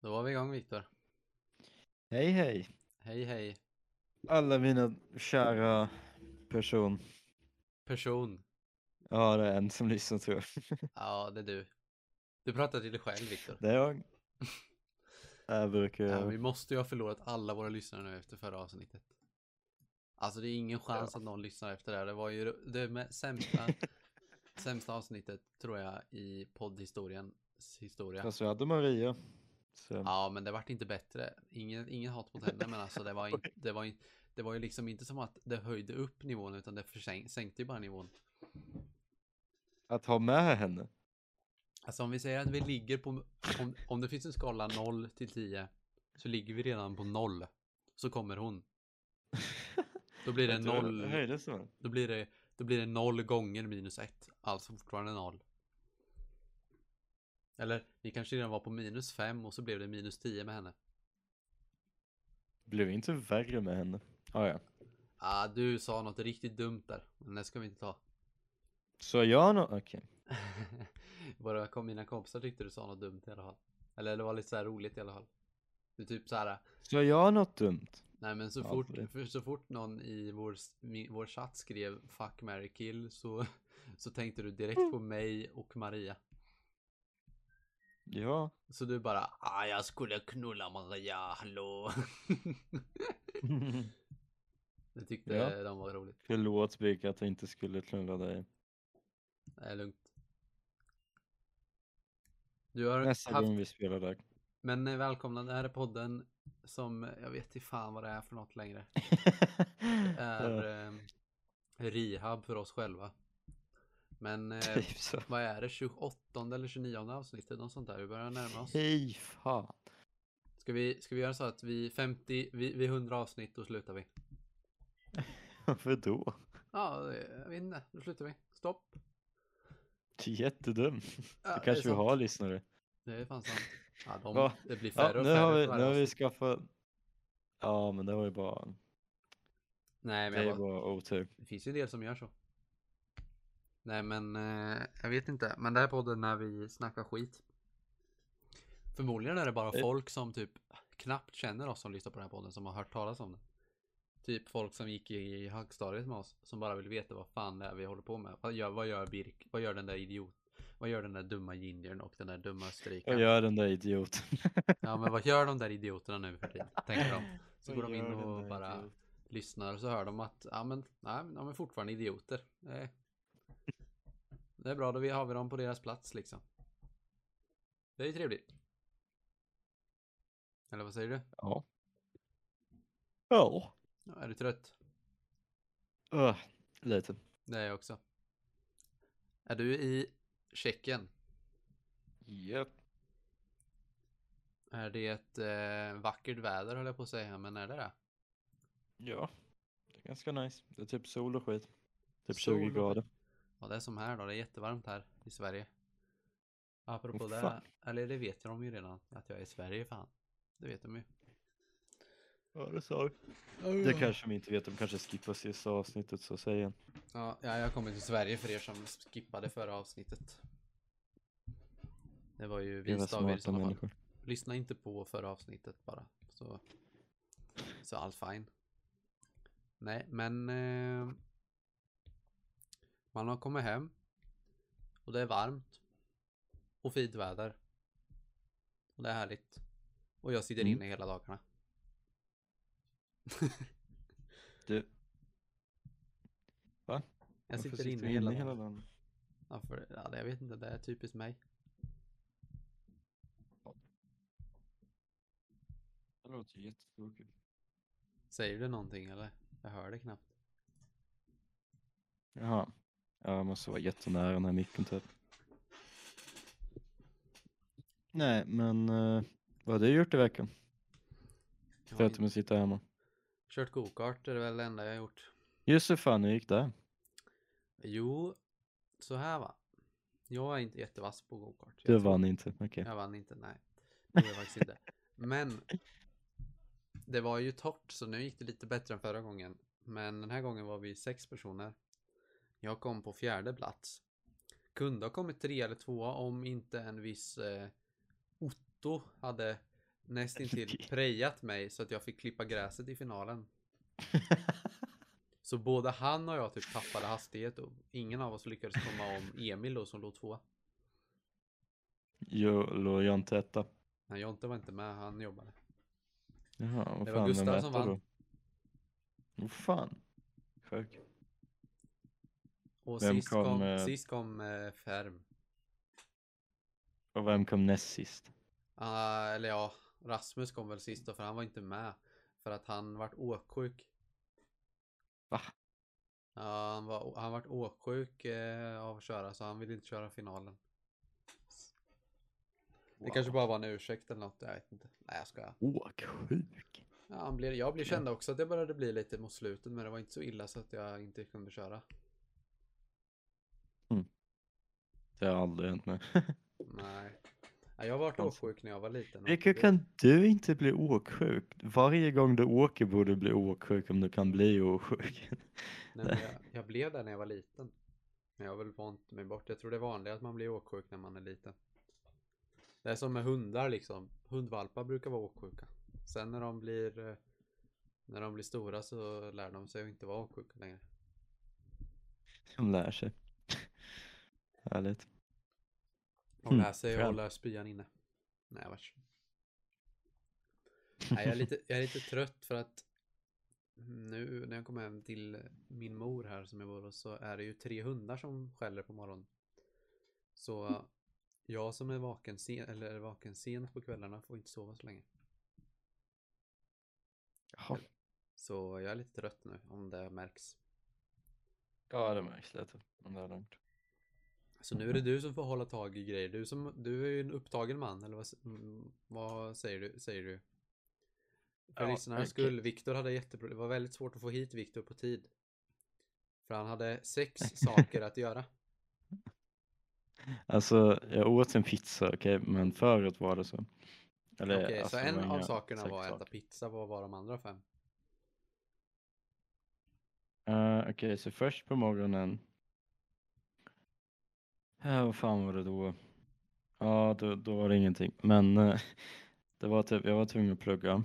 Då var vi igång Viktor. Hej hej Hej hej. alla mina kära person. Person. Ja det är en som lyssnar tror jag. Ja, det är du. Du pratar till dig själv Viktor. Det är jag. Jag brukar Ja, vi jag. måste ju ha förlorat alla våra lyssnare nu efter förra avsnittet. Alltså det är ingen chans att någon lyssnar efter det här. Det var ju det med sämsta, sämsta avsnittet tror jag i poddhistoriens historia. Fast vi hade Maria. Så. Ja, men det vart inte bättre. Ingen, ingen hat mot henne, men alltså det var, in, det, var in, det var ju liksom inte som att det höjde upp nivån, utan det försänk, sänkte ju bara nivån. Att ha med henne. Alltså om vi säger att vi ligger på, om, om det finns en skala 0 till 10, så ligger vi redan på 0. Så kommer hon. Då blir det Jag tror 0, höjdes med. då blir det, då blir det 0 gånger minus 1. Alltså fortfarande 0. Eller, vi kanske redan var på minus 5 och så blev det minus 10 med henne. Blev inte värre med henne. Ah, ja. Ah, du sa något riktigt dumt där, men det ska vi inte ta. Så jag nå... Okej. Våra kom, mina kompisar tyckte du sa något dumt i alla fall. Eller det var lite så här roligt i alla fall. Du typ så här. Så jag något dumt? Nej men så, Ja, fort, det- för så fort någon i vår, mi- vår chatt skrev Fuck, marry, kill så, så tänkte du direkt på mig och Maria. Ja. Så du bara ah, jag skulle knulla Maria, hallå. Det tyckte Ja. de var roligt. Förlåt Birka att jag inte skulle knulla dig. Det är lugnt. Du har Nästa haft, gång vi spelar där. men eh, välkomna, det här är podden som, eh, jag vet inte fan vad det är för något längre. Ja, Är eh, rehab för oss själva. Men eh, typ så. Vad är det? 28 eller 29 avsnittet? Något sånt där. Vi börjar närma oss. Fy fan. Ska vi, ska vi göra så att vi 50, vi, vi 100 avsnitt, då slutar vi. Varför då? Ja, det- jag vet inte. Då slutar vi. Stopp. Jättedum. Ja, Då det är kanske vi sant. har lyssnare. Det är fan sant. Ja, de, Ja. det blir färre Ja, och nu färre. har, vi, för varje nu har vi avsnitt. skaffat... Ja, men det var ju bara, Nej, det är men ju jag bara, bara otur. det finns ju en del som gör så. Nej, men eh, jag vet inte. Men det här podden när vi snackar skit. Förmodligen är det bara Eh. folk som typ knappt känner oss som lyssnar på den här podden som har hört talas om den. Typ folk som gick i högstadiet med oss som bara vill veta vad fan det är vi håller på med. Vad gör, vad gör Birk? Vad gör den där idiot? Vad gör den där dumma gingern och den där dumma Jag österrikaren? gör den där idioten. Ja men vad gör de där idioterna nu för tiden? Tänker de. Så Vad går de in gör den och där bara idioten? lyssnar och så hör de att ja men, nej, men de är fortfarande idioter. Nej. Det är bra, då vi- har vi dem på deras plats liksom. Det är ju trevligt. Eller vad säger du? Ja. Ja. Ja, Är du trött? Öh, lite. Det är jag också. Är du i Tjeckien? Japp. Är det ett eh, vackert väder höll jag på att säga, men är det det? Ja. Det är ganska nice. Det är typ sol och skit. Typ Sol och 20 skit. grader. Ja, det är som här då. Det är jättevarmt här i Sverige. Apropå Åh, det, fan. eller det vet ju de ju redan, att jag är i Sverige fan. Det vet de ju. Ja, det sa du. Det kanske de inte vet. De kanske skippar sista avsnittet så säg igen. Ja, ja, jag kommer till Sverige för er som skippade förra avsnittet. Det var ju Era vist av er i smarta sådana fall. människor. Lyssna inte på förra avsnittet bara. Så, så allt fine. Nej, men eh, man har kommit hem och det är varmt och fint väder. Och det är härligt. Och jag sitter Mm. inne hela dagarna. Du. Va? Jag varför sitter inne du hela dagarna. dagen. Ja, för, ja, det- jag vet inte, det är typiskt mig. Det låter jättetråkigt. Säger du någonting eller? Jag hör det knappt. Jaha. Ja, jag måste vara jättenära den här micken typ. Nej, men eh, vad har du gjort i veckan? Jag har inte... Förutom att sitta hemma. Kört go-kart är det väl det enda jag har gjort. Just det, fan hur gick det? Jo, så här va. Jag är inte jättevass på go-kart. Jag Du tror- vann inte, okej. Jag vann inte, nej. Det gjorde jag faktiskt inte. Men det var ju torrt så nu gick det lite bättre än förra gången. Men den här gången var vi sex personer. Jag kom på fjärde plats. Kunde ha kommit tre eller två om inte en viss eh, Otto hade nästintill prejat mig så att jag fick klippa gräset i finalen. Så både han och jag typ tappade hastighet och ingen av oss lyckades komma om Emil då som låg tvåa. Jo, låg jag inte etta. Nej, Jonte var inte med, han jobbade. Jaha, vad Det var fan, Gustav vem som äter vann. då? Vad fan. Sjuk. Och Vem sist kom, kom, eh, sist kom eh, Ferm. Och vem kom näst sist? Ah, eller ja, Rasmus kom väl sist då för han var inte med. För att han vart åksjuk. Va? Ja, han, var, han vart åksjuk eh, av att köra så han ville inte köra finalen. Det kanske bara var en ursäkt eller något, jag vet inte. Nej jag skojar. Åksjuk. Ja, han blev, jag blev kände också att jag började bli lite mot slutet men det var inte så illa så att jag inte kunde köra. Det har aldrig hänt mig. Nej. Nej, Jag har varit Alltså. åksjuk när jag var liten. och Hur det- kan du inte bli åksjuk? Varje gång du åker borde du bli åksjuk om du kan bli åksjuk. Nej, men jag, jag blev där när jag var liten. Men jag har väl vant mig bort. Jag tror det är vanligt att man blir åksjuk när man är liten. Det är som med hundar liksom. Hundvalpar brukar vara åksjuka. Sen när de blir eh, när de blir stora så lär de sig att inte vara åksjuka längre. De lär sig. Härligt. Mm, De lär sig att skönt. hålla spyan inne. Nej, vars. Nej, jag är, lite, jag är lite trött för att nu när jag kommer hem till min mor här som jag bor hos så är det ju tre hundar som skäller på morgonen. Så jag som är vaken, sen, eller är vaken sent på kvällarna får inte sova så länge. Jaha. Så jag är lite trött nu om det märks. Ja, det märks typ, lite. Men det är lugnt. Så nu är det Mm. du som får hålla tag i grejer. Du, som, du är ju en upptagen man, eller vad, s- mm, vad säger du? Säger du? För Ja, lyssnarnas verkligen. skull, Viktor hade jätteproblem. Det var väldigt svårt att få hit Viktor på tid. För han hade sex saker att göra. Alltså, jag åt en pizza, okej, men förut var det så. Eller, Okej, alltså, så det en var av inga sakerna säkra var att äta saker. pizza. Vad var de andra fem? Eh, Okej, så först på morgonen. Uh, vad fan var det då? Ja, då, då var det ingenting. Men eh, det var typ, jag var tvungen att plugga.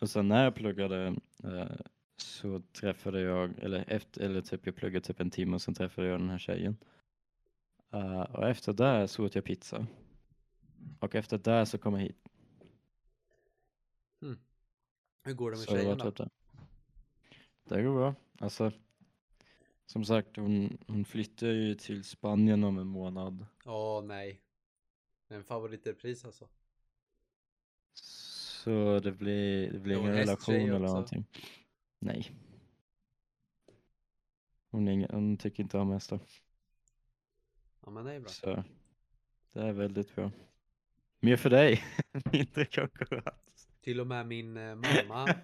Och sen när jag pluggade eh, så träffade jag, eller, efter, eller typ jag pluggade typ en timme och sen träffade jag den här tjejen. Eh, och efter det så åt jag pizza. Och efter det så kom jag hit. Hur går det med Så det var tjejen då? typ det. Det går bra. Alltså, som sagt, hon, hon flyttar ju till Spanien om en månad. Åh nej. Det är En favoritrepris alltså. Så det blir, det blir Är hon ingen relation hästtjej eller också? någonting. Nej. Hon, är ingen, hon tycker inte om hästar. Ja men det är bra. Så det är väldigt bra. Mer för dig, mindre konkurrens. Till och med min eh, mamma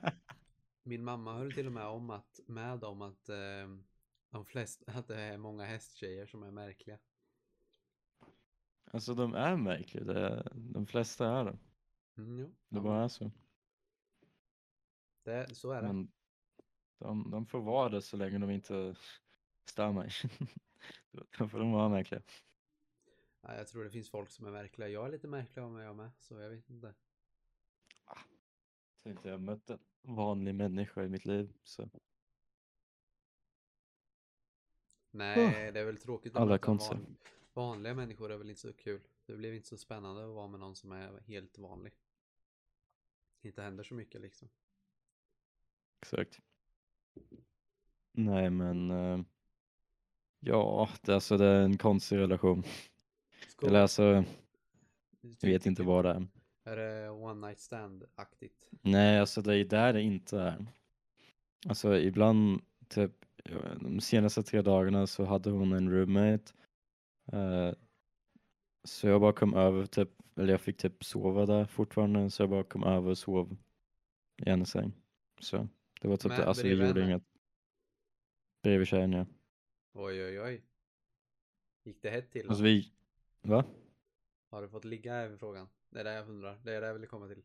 Min mamma höll till och med om att, med om att eh, de flest, att det är många hästtjejer som är märkliga. Alltså de är märkliga, det är, de flesta är det. Mm, jo, Det ja, bara är så. det, så är det. Men de, de får vara det så länge de inte stör mig. Då får de vara märkliga. Ja, jag tror det finns folk som är märkliga. Jag är lite märklig av mig jag med, så jag vet inte. Så inte jag mött en vanlig människa i mitt liv. Så. Nej, det är väl tråkigt. att Alla möta konstiga. van- Vanliga människor är väl inte så kul. Det blir inte så spännande att vara med någon som är helt vanlig. Inte händer så mycket liksom. Exakt. Nej men. eh, ja, det, alltså, det är en konstig relation. Skål. Eller alltså, jag vet Typ- inte vad det är. Är det one night stand-aktigt? Nej, alltså det är där det inte är. Alltså ibland, typ jag vet inte, de senaste tre dagarna så hade hon en roommate. eh, så jag bara kom över, typ, eller jag fick typ sova där fortfarande, så jag bara kom över och sov i hennes säng. Så det var typ Men det, alltså vi bredvid gjorde henne? inget. Bredvid tjejen ja. Oj, oj, oj. Gick det hett till? Alltså vi, va? Har du fått ligga är frågan? Det är det jag undrar. Det är det jag ville komma till.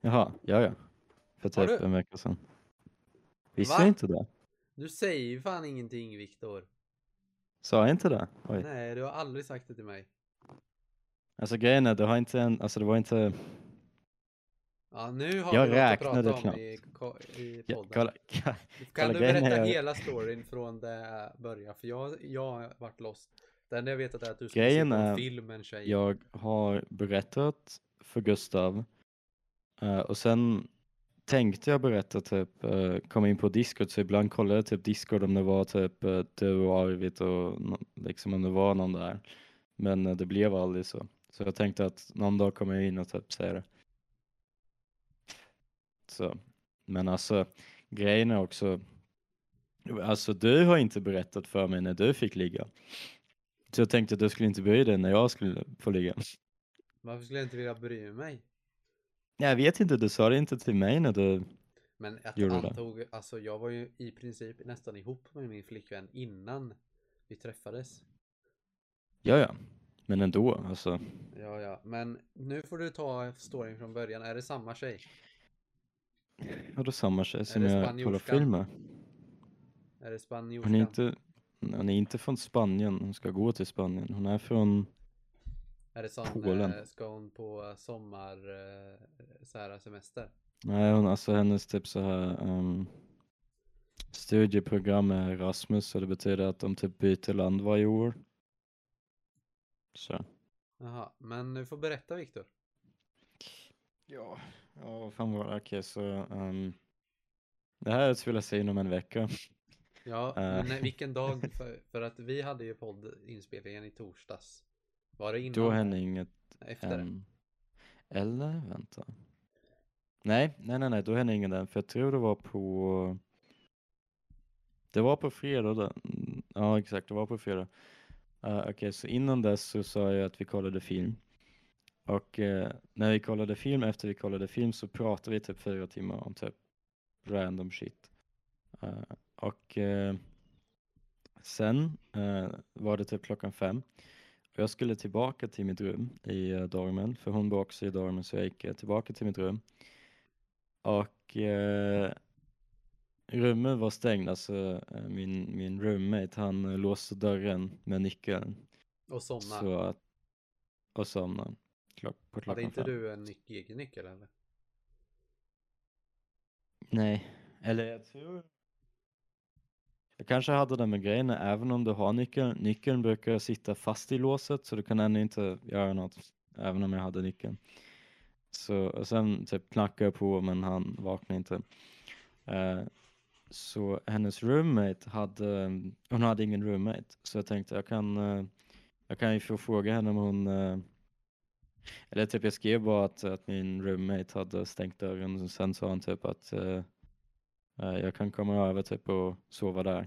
Jaha, ja ja. För Har typ du? en vecka sedan. Visste jag Va? inte det? Du säger ju fan ingenting Viktor. Sa jag inte det? Oj. Nej, du har aldrig sagt det till mig. Alltså grejen är, det, har inte en, alltså, det var inte Ja, nu har Jag vi något att räknade prata om knappt. i, ko- i Ja, podden. kolla, kolla. kan kolla du grejen berätta är- hela storyn från det början? För jag, jag har varit lost. Det enda jag vet är att du skulle se Grejen på en är- film med en tjej. Jag har berättat för Gustav eh, och sen tänkte jag berätta typ, eh, kom in på Discord så ibland kollade jag typ Discord om det var typ eh, du och Arvid och nå- liksom om det var någon där. Men eh, det blev aldrig så. Så jag tänkte att någon dag kommer jag in och typ säga det. Så. Men alltså grejen är också, alltså du har inte berättat för mig när du fick ligga. Så jag tänkte att du skulle inte bry dig när jag skulle få ligga. Varför skulle jag inte vilja bry mig? Jag vet inte, du sa det inte till mig när du... Men att Gjorde jag du det? antog, alltså jag var ju i princip nästan ihop med min flickvän innan vi träffades. Ja, ja. Men ändå, alltså. Ja, ja, men nu får du ta storyn från början. Är det samma tjej? Vadå samma tjej som det jag kollar spanjorskan? film med? Är det spanjorskan? Hon är inte... Hon är inte från Spanien, hon ska gå till Spanien. Hon är från... Är det sån, Polen. eh, ska hon på sommar, eh, så här semester? Nej, hon, alltså hennes typ så här... ehm, studieprogram är Erasmus, så det betyder att de typ byter land varje år. Så. Jaha, men du får berätta Viktor. Ja, ja vad fan var det? Okej, så... ehm, det här spelas in om en vecka. Ja, Eh. men nej, vilken dag? För, för att vi hade ju poddinspelningen i torsdags. Var det innan? Då hände inget Efter? än. Eller vänta. Nej, nej, nej, nej, då hände inget än. För jag tror det var på... Det var på fredag. då. Mm, Ja, exakt, det var på fredag. Uh, Okej, så innan dess så sa jag att vi kollade film. Och eh, när vi kollade film, efter vi kollade film så pratade vi typ fyra timmar om typ random shit. Eh, och eh, sen eh, var det typ klockan fem. Och jag skulle tillbaka till mitt rum i eh, dormen, för hon var också i dormen så jag gick eh, tillbaka till mitt rum. Och eh, rummet var stängt, alltså eh, min, min roommate han eh, låste dörren med nyckeln. Och somna. Så att, och somnade klock, på klockan Hade inte fem. du en nyc- egen nyckel eller? Nej, eller jag tror... Jag kanske hade den med grejen, även om du har nyckeln. Nyckeln brukar sitta fast i låset så du kan ännu inte göra något, även om jag hade nyckeln. Så, och sen typ knackade jag på men han vaknade inte. Eh, så hennes roommate hade, hon hade ingen roommate så jag tänkte jag kan, eh, jag kan ju få fråga henne om hon eh, eller typ jag skrev bara att, att min roommate hade stängt dörren och sen sa han typ att eh, eh, jag kan komma över typ och sova där.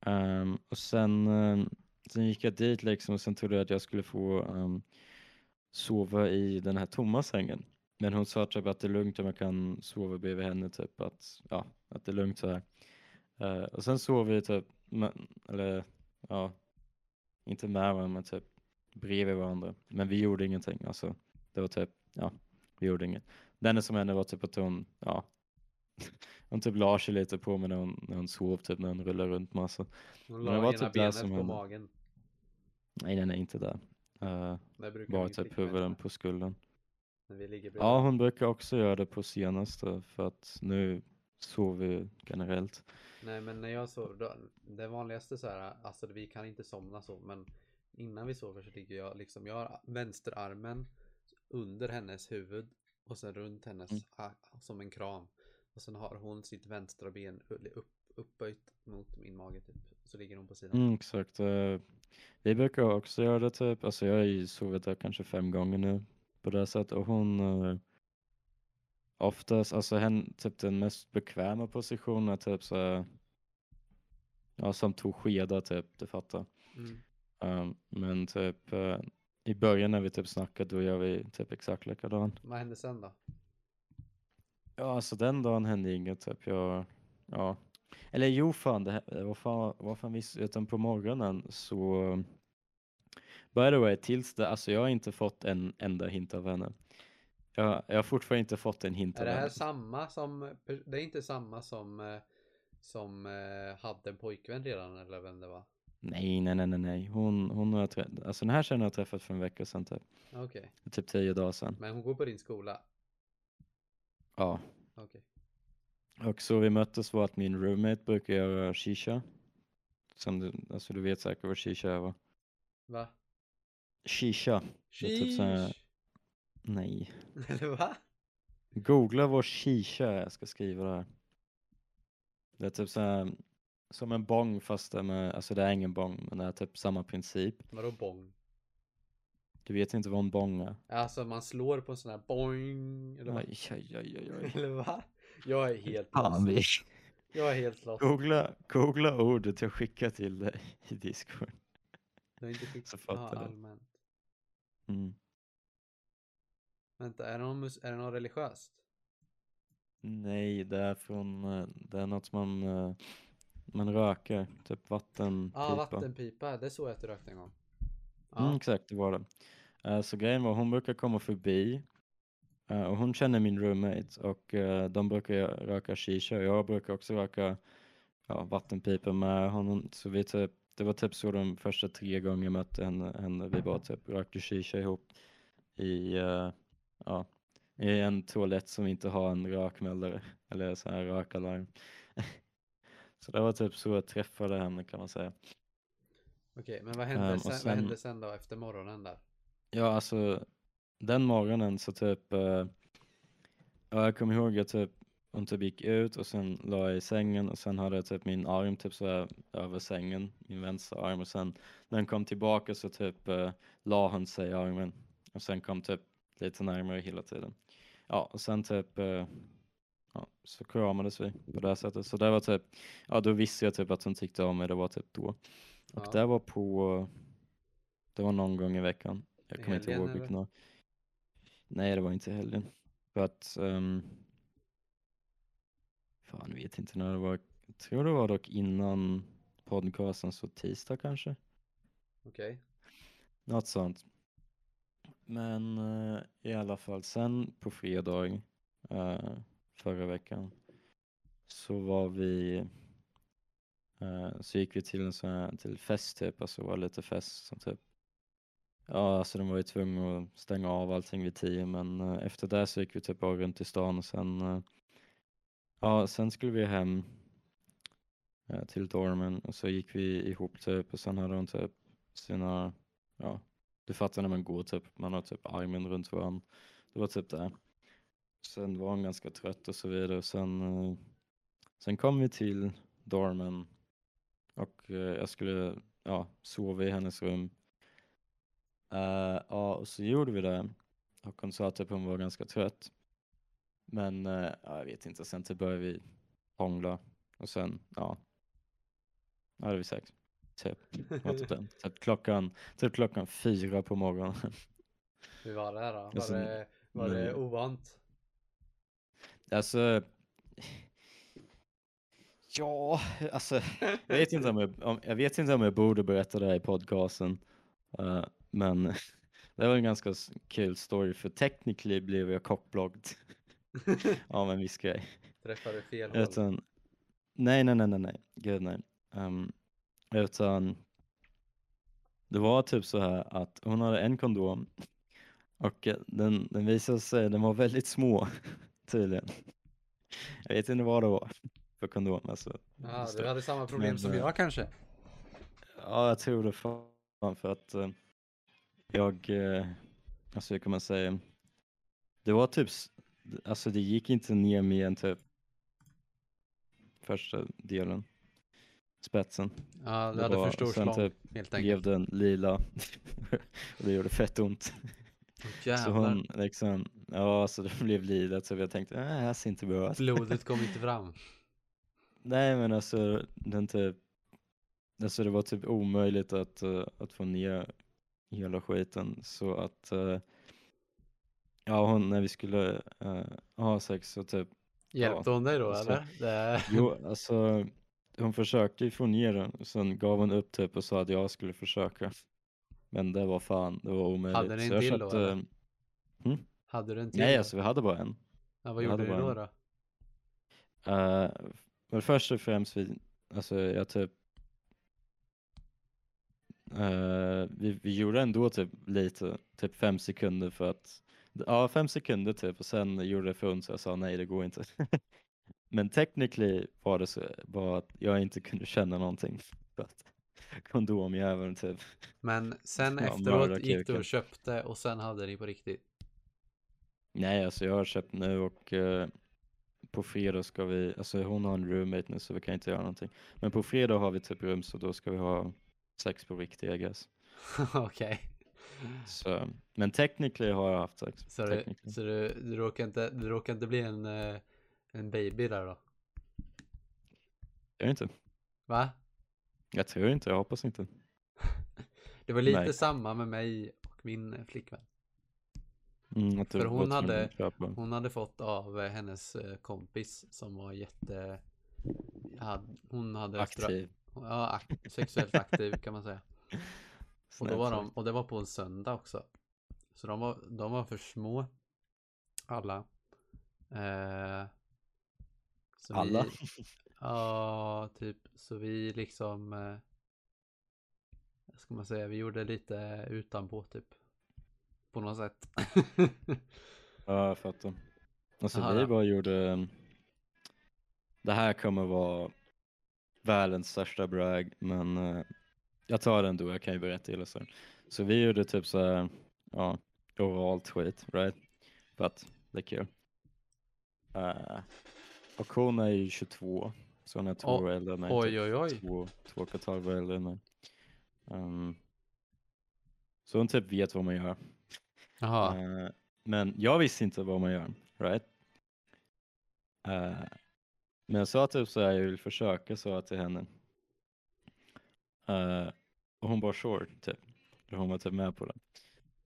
Ehm, och sen, eh, sen gick jag dit liksom och sen trodde jag att jag skulle få ehm, sova i den här tomma sängen. Men hon sa typ att det är lugnt om jag kan sova bredvid henne typ att, ja, att det är lugnt så här. Eh, och sen sov vi typ, men, eller ja, inte med varandra men typ bredvid varandra. Men vi gjorde ingenting. Alltså, det var typ, ja, vi gjorde inget. Det enda som hände var typ att hon, ja, hon typ la sig lite på mig när hon, när hon sov, typ när hon rullade runt massa. Hon Men la det var ena typ det benet som på hände. magen. Nej, den är inte där. Eh, Det brukar bara min typ flickvän huvuden göra på skulden. När vi ligger bredvid. Ja, hon brukar också göra det på senaste för att nu sover vi generellt. Nej men när jag sover, då, det vanligaste så här, alltså vi kan inte somna så men innan vi sover så ligger jag liksom, jag har vänsterarmen under hennes huvud och sen runt hennes Mm. ha- som en kram. Och sen har hon sitt vänstra ben u- upp, upphöjt mot min mage typ. Så ligger hon på sidan. Mm, exakt. Eh, vi brukar också göra det typ, alltså jag har ju sovit där kanske fem gånger nu på det här sättet och hon eh, oftast, alltså hen, typ den mest bekväma positionen är typ så här, ja som tog skeda typ, du fattar. Mm. Eh, men typ eh, i början när vi typ snackade då gör vi typ exakt likadant. Vad hände sen då? Ja, alltså den dagen hände inget typ. Jag, ja. Eller jo fan, det här, vad fan, vad fan visste utan på morgonen så By the way, tills det, alltså jag har inte fått en enda hint av henne. Jag, jag har fortfarande inte fått en hint Är av det här henne. samma som, det är inte samma som eh, som eh, hade en pojkvän redan eller vem det var? Nej, nej, nej, nej, nej. Hon, hon har jag träffat, alltså den här tjejen har jag träffat för en vecka sedan typ. Okej, Typ tio dagar sedan. men hon går på din skola. Ja. Okej. Och så vi möttes var att min roommate brukar göra shisha. Som du, alltså du vet säkert vad shisha är va? Va? Shisha. Det är typ så här- Sheesh. Nej. Eller va? Googla vad shisha är, jag ska skriva det här. Det är typ så här, som en bong fast det är med, alltså det är ingen bong men det är typ samma princip. Vadå bong? Du vet inte vad en bong är? Alltså man slår på en sån här boing. Eller, vad? Aj, aj, aj, aj, aj. eller va? Jag är helt Fan, lost. vi- Oh, Jag är helt lost. Googla, googla ordet jag skickar till dig i Discord. Jag har inte skickat Så fattar du. allmänt. Mm. Vänta, är det någon, mus- är det någon religiöst? Nej, det är från, eh, det är något man, eh, man röker, typ vattenpipa. Ja, ah, vattenpipa. Det såg jag att du rökte en gång. Ja, Mm, exakt, det var det. Eh, så grejen var, hon brukar komma förbi eh, och hon känner min roommate och eh, de brukar ju röka shisha och jag brukar också röka ja, vattenpipa med honom. Så vi typ, det var typ så de första tre gånger jag mötte henne, henne vi bara typ rökte shisha ihop i, eh, ja, i en toalett som inte har en rökmällare eller så här rökalarm. så det var typ så jag träffade henne kan man säga. Okej, men vad hände, Ehm, och sen, sen- vad hände sen då efter morgonen där? Ja, alltså den morgonen så typ, eh, ja, jag kommer ihåg jag typ, hon typ gick ut och sen la jag i sängen och sen hade jag typ min arm typ så här över sängen, min vänstra arm och sen när hon kom tillbaka så typ eh, la hon sig i armen och sen kom typ lite närmare hela tiden. Ja, och sen typ, eh, ja, så kramades vi på det här sättet. Så det var typ, ja då visste jag typ att hon tyckte om mig, det var typ då. Och Ja. det var på, det var någon gång i veckan. Jag I kommer inte helgen, ihåg eller? vilken dag. Nej, det var inte i helgen. För att, um, fan vet inte när det var. Jag tror det var dock innan podcasten, så tisdag kanske. Okej. Något sånt. Men eh, i alla fall, sen på fredag eh, förra veckan så var vi eh, så gick vi till en sån här till fest typ, alltså var det lite fest som typ Ja, alltså de var ju tvungna att stänga av allting vid tio men eh, efter det så gick vi typ bara runt i stan och sen eh, Ja, sen skulle vi hem eh, till dormen och så gick vi ihop typ och sen hade de typ sina ja, du fattar när man går typ, man har typ armen runt varandra. Det var typ det. Sen var hon ganska trött och så vidare. Och sen, eh, sen kom vi till dormen och eh, jag skulle ja, sova i hennes rum. Eh, ja, och så gjorde vi det. Och hon sa att typ hon var ganska trött. Men eh, ja, jag vet inte, sen typ började vi hångla och sen, ja, ja, hade vi sex. Typ, var typ, den. typ klockan Typ klockan fyra på morgonen. Hur var det här då? Var Alltså, det, var det men- ovant? Alltså... Ja, alltså jag vet inte om jag, om, jag, vet inte om jag borde berätta det här i podcasten. eh, men det var en ganska s- kul story för technically blev jag kockbloggad av en viss grej. Träffade du fel håll? Utan, nej, nej, nej, nej, nej, gud nej. Ehm, utan det var typ så här att hon hade en kondom och eh, den, den visade sig, den var väldigt små tydligen. Jag vet inte vad det var för kondom alltså. Ja, Just du det. hade samma problem Men, som eh, jag kanske? Ja, jag tror det fan för att eh, jag, eh, alltså hur kan man säga, det var typ, s- alltså det gick inte ner mer än typ första delen, spetsen. Ja, du det hade var- för stor sen slång typ helt enkelt. blev den lila och det gjorde fett ont. Åh, Så Jävlar, hon liksom, ja så det blev lila så jag tänkte, äh, det här ser inte bra ut. blodet kom inte fram. Nej men alltså den typ Alltså det var typ omöjligt att, eh, att få ner hela skiten så att eh, Ja hon, när vi skulle eh, ha sex så typ Hjälpte hon dig då så- eller? Det... Jo alltså Hon försökte ju få ner den och sen gav hon upp typ och sa att jag skulle försöka Men det var fan, det var omöjligt Hade ni en så jag till då, köpte- eller? Hade du en till? Nej då? alltså vi hade bara en ja, vad jag gjorde hade du bara då en. då? Eh, men först och främst, vi, alltså jag typ eh, vi, vi gjorde ändå typ lite, typ fem sekunder för att Ja, fem sekunder typ och sen gjorde det för ont så jag sa nej, det går inte. Men technically var det så var att jag inte kunde känna någonting. För att kondomjäveln typ. Men sen Ja, mörda efteråt gick du kuken. och köpte och sen hade ni på riktigt. Nej, alltså jag har köpt nu och eh, på fredag ska vi, alltså hon har en roommate nu så vi kan inte göra någonting. Men på fredag har vi typ rum så då ska vi ha sex på riktiga guess. Okej. Så, men technically har jag haft sex. Så, du, technically. så du, du, råkar inte, du råkar inte bli en, eh, en baby där då? Jag vet inte. Va? Jag tror inte, jag hoppas inte. Det var lite Nej. samma med mig och min eh, flickvän. Mm, att du För hon var tvungen hade- att köpa. Hon hade fått av eh, hennes eh, kompis som var jätte... Had, hon hade... strö- aktiv. Ja, ak- sexuellt aktiv kan man säga. Och, då Snäll var sak. de, och det var på en söndag också. Så de var, de var för små. Alla. Eh, så Alla? Vi, ja, typ. Så vi liksom. Eh, vad ska man säga? Vi gjorde lite utanpå typ. På något sätt. Ja, jag fattar. Alltså Aha, vi ja. bara gjorde... um, Det här kommer vara världens största brag, men eh, jag tar det ändå, jag kan ju berätta hela sen. Så vi gjorde typ så här, ja, oralt skit, right? För att det är kul. Eh, och hon är ju 22, så hon är två Oj, år äldre än mig. typ oj, oj, oj. två, två och ett halvt år äldre än mig. Ehm, så hon typ vet vad man gör. Jaha. Eh, men jag visste inte vad man gör, right? Eh, men jag sa typ så här, jag vill försöka, sa jag till henne. Eh, och hon bara sure, typ. Eller Hon var typ med på det.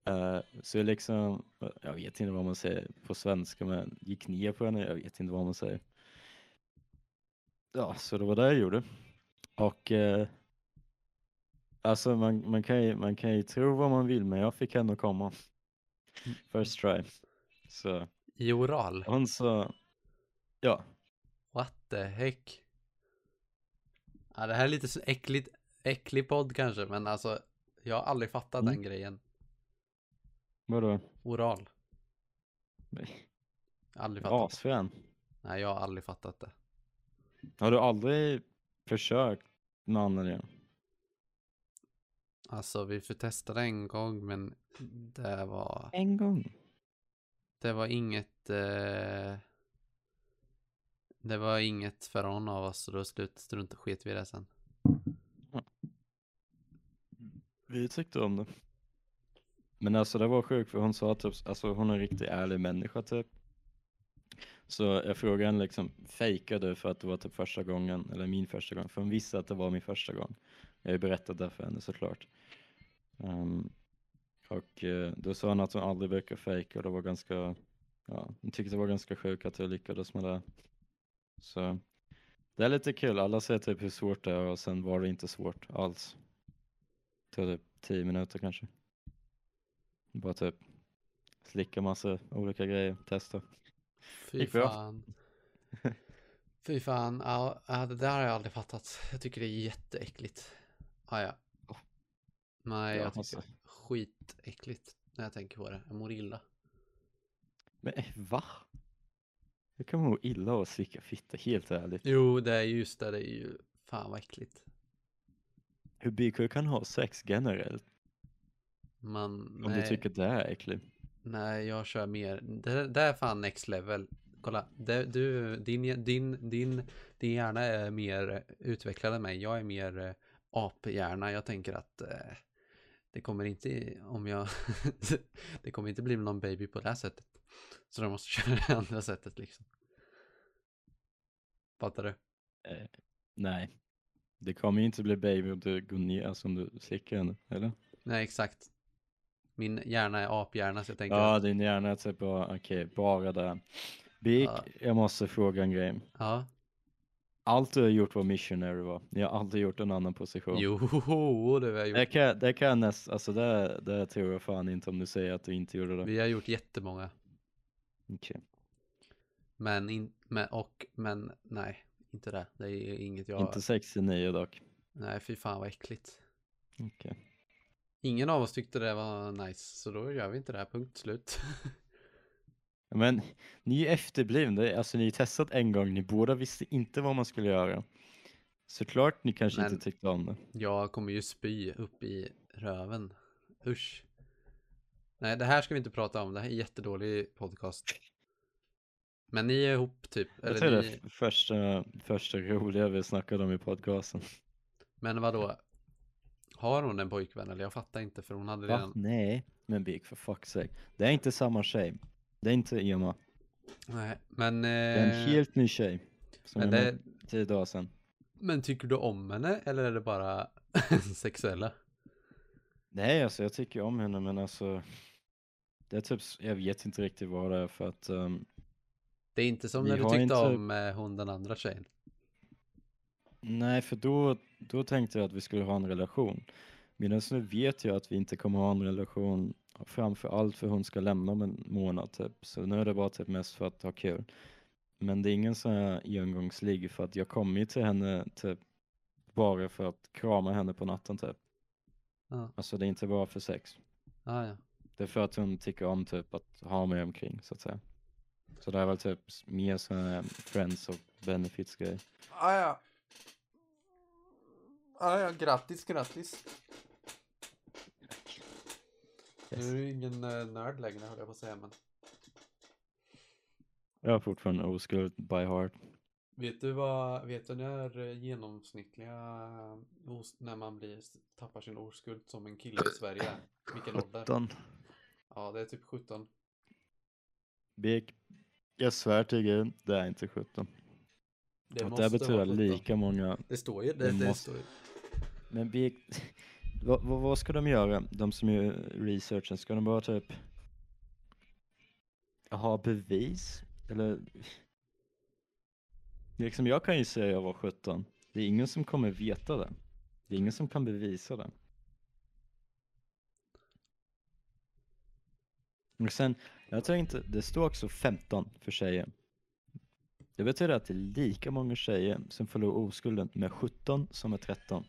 Eh, så jag liksom, jag vet inte vad man säger på svenska, men gick ner på henne, jag vet inte vad man säger. Ja, så det var det jag gjorde. Och eh, alltså man, man, kan ju, man kan ju tro vad man vill, men jag fick henne att komma. First try. Så I oral. hon sa, ja, What the heck? Ja, det här är lite så äckligt, äcklig podd kanske, men alltså jag har aldrig fattat Mm. den grejen. vadå, Oral. Nej. Aldrig fattat. asfrän. Nej, jag har aldrig fattat det. Har du aldrig försökt med annan Alltså, vi får testa det en gång, men det var, En gång. det var inget, eh, det var inget för någon av oss, så då slut, strunt och sket vi i det sen. Vi tyckte om det. Men alltså det var sjukt för hon sa typ, alltså hon är en riktigt ärlig människa typ. Så jag frågade henne liksom, fejkade du för att det var typ första gången, eller min första gång? För hon visste att det var min första gång. Jag har ju berättat det för henne såklart. Ehm, och eh, då sa hon att hon aldrig brukar fejka och det var ganska, ja, hon tyckte det var ganska sjukt att jag lyckades med det. Så det är lite kul, alla säger typ hur svårt det är och sen var det inte svårt alls tog typ 10 minuter kanske. Bara typ slicka massa olika grejer, testa. Fy Gick bra. fan. Fy fan, ja, ja, det där har jag aldrig fattat. Jag tycker det är jätteäckligt. Ah, ja. Nej, Ja, jag tycker alltså. det är skitäckligt när jag tänker på det. Jag mår illa. Men eh, va? Jag kan må illa av att slicka fitta, helt ärligt. Jo, det är just det, det är ju fan vad äckligt. Hur bikor kan ha sex generellt? Man, Om du tycker det är äckligt. Nej, jag kör mer. Det, det är fan next level. Kolla, det, du, din, din, din, din hjärna är mer utvecklad än mig. Jag är mer eh, aphjärna. Jag tänker att eh, det kommer inte om jag... det kommer inte bli någon baby på det här sättet. Så de måste köra det andra sättet liksom. Fattar du? Nej. Det kommer ju inte bli baby om du går ner, alltså om du slickar henne, eller? Nej, exakt. Min hjärna är aphjärna så jag tänker Ja, att, din hjärna är typ bara, okej, bara där. Bik, Ja. jag måste fråga en grej. ja. Allt du har gjort var missionary va? Ni har aldrig gjort en annan position. Jo, det har jag Det gjort. kan, det kan nästan, alltså det, det tror jag fan inte om du säger att du inte gjorde det. Vi har gjort jättemånga. Okej. Men, in, men, och, men nej, inte det. Det är inget jag... Inte 69 dock. Nej, fy fan vad äckligt. Okej. Ingen av oss tyckte det var nice, så då gör vi inte det här, punkt slut. Men ni är efterblivna. Alltså ni har testat en gång. Ni båda visste inte vad man skulle göra. Såklart ni kanske Men- inte tyckte om det. Jag kommer ju spy upp i röven. Usch. Nej, det här ska vi inte prata om. Det här är en jättedålig podcast. Men ni är ihop typ. Jag Eller tror det ni... är f- första, första roliga vi snackade om i podcasten. Men vadå? Har hon en pojkvän? Eller jag fattar inte för hon hade Va? redan. Nej, men Big för fuck's sake. Det är inte samma tjej. Det är inte Emma. Nej, men... Det är Eh... en helt ny tjej. Som men men det- det... tio dagar sedan. Men tycker du om henne? Eller är det bara sexuella? Nej, alltså jag tycker ju om henne men alltså. Det är typ, s- jag vet inte riktigt vad det är för att. ehm, Det är inte som Vi när du har tyckte inte- om eh, hon den andra tjejen. nej, för då, då tänkte jag att vi skulle ha en relation. Medan nu vet jag att vi inte kommer ha en relation. Framför allt för hon ska lämna om en månad typ. Så nu är det bara typ mest för att ha kul. Men det är ingen sån här engångsligg för att jag kommer ju till henne typ bara för att krama henne på natten typ. Ja. Alltså det är inte bara för sex. Ah, ja. Det är för att hon tycker om typ att ha mig omkring så att säga. Så det här var typ s- mer sådana här friends och benefits grej. Ah, ja. Ah, ja, grattis, grattis. Nu är du ingen eh, nörd längre höll jag på att säga, men Jag har fortfarande oskuld by heart. vet du vad, vet du när eh, genomsnittliga, eh, os- när man blir, tappar sin oskuld som en kille i Sverige är? Vilken ålder? 17. Ja, det är typ 17. Bek. Jag svär till gud, det är inte 17. Det Det, det betyder lika många. Det står ju, det, Det det, måste- står ju. Men Bek, vad, vad, vad ska de göra? De som gör researchen, ska de bara typ ha bevis? Eller? Liksom jag kan ju säga jag var 17. Det är ingen som kommer veta det. Det är ingen som kan bevisa det. Och sen, jag tror inte, det står också 15 för tjejer. Det betyder att det är lika många tjejer som förlorar oskulden med 17 som med 13.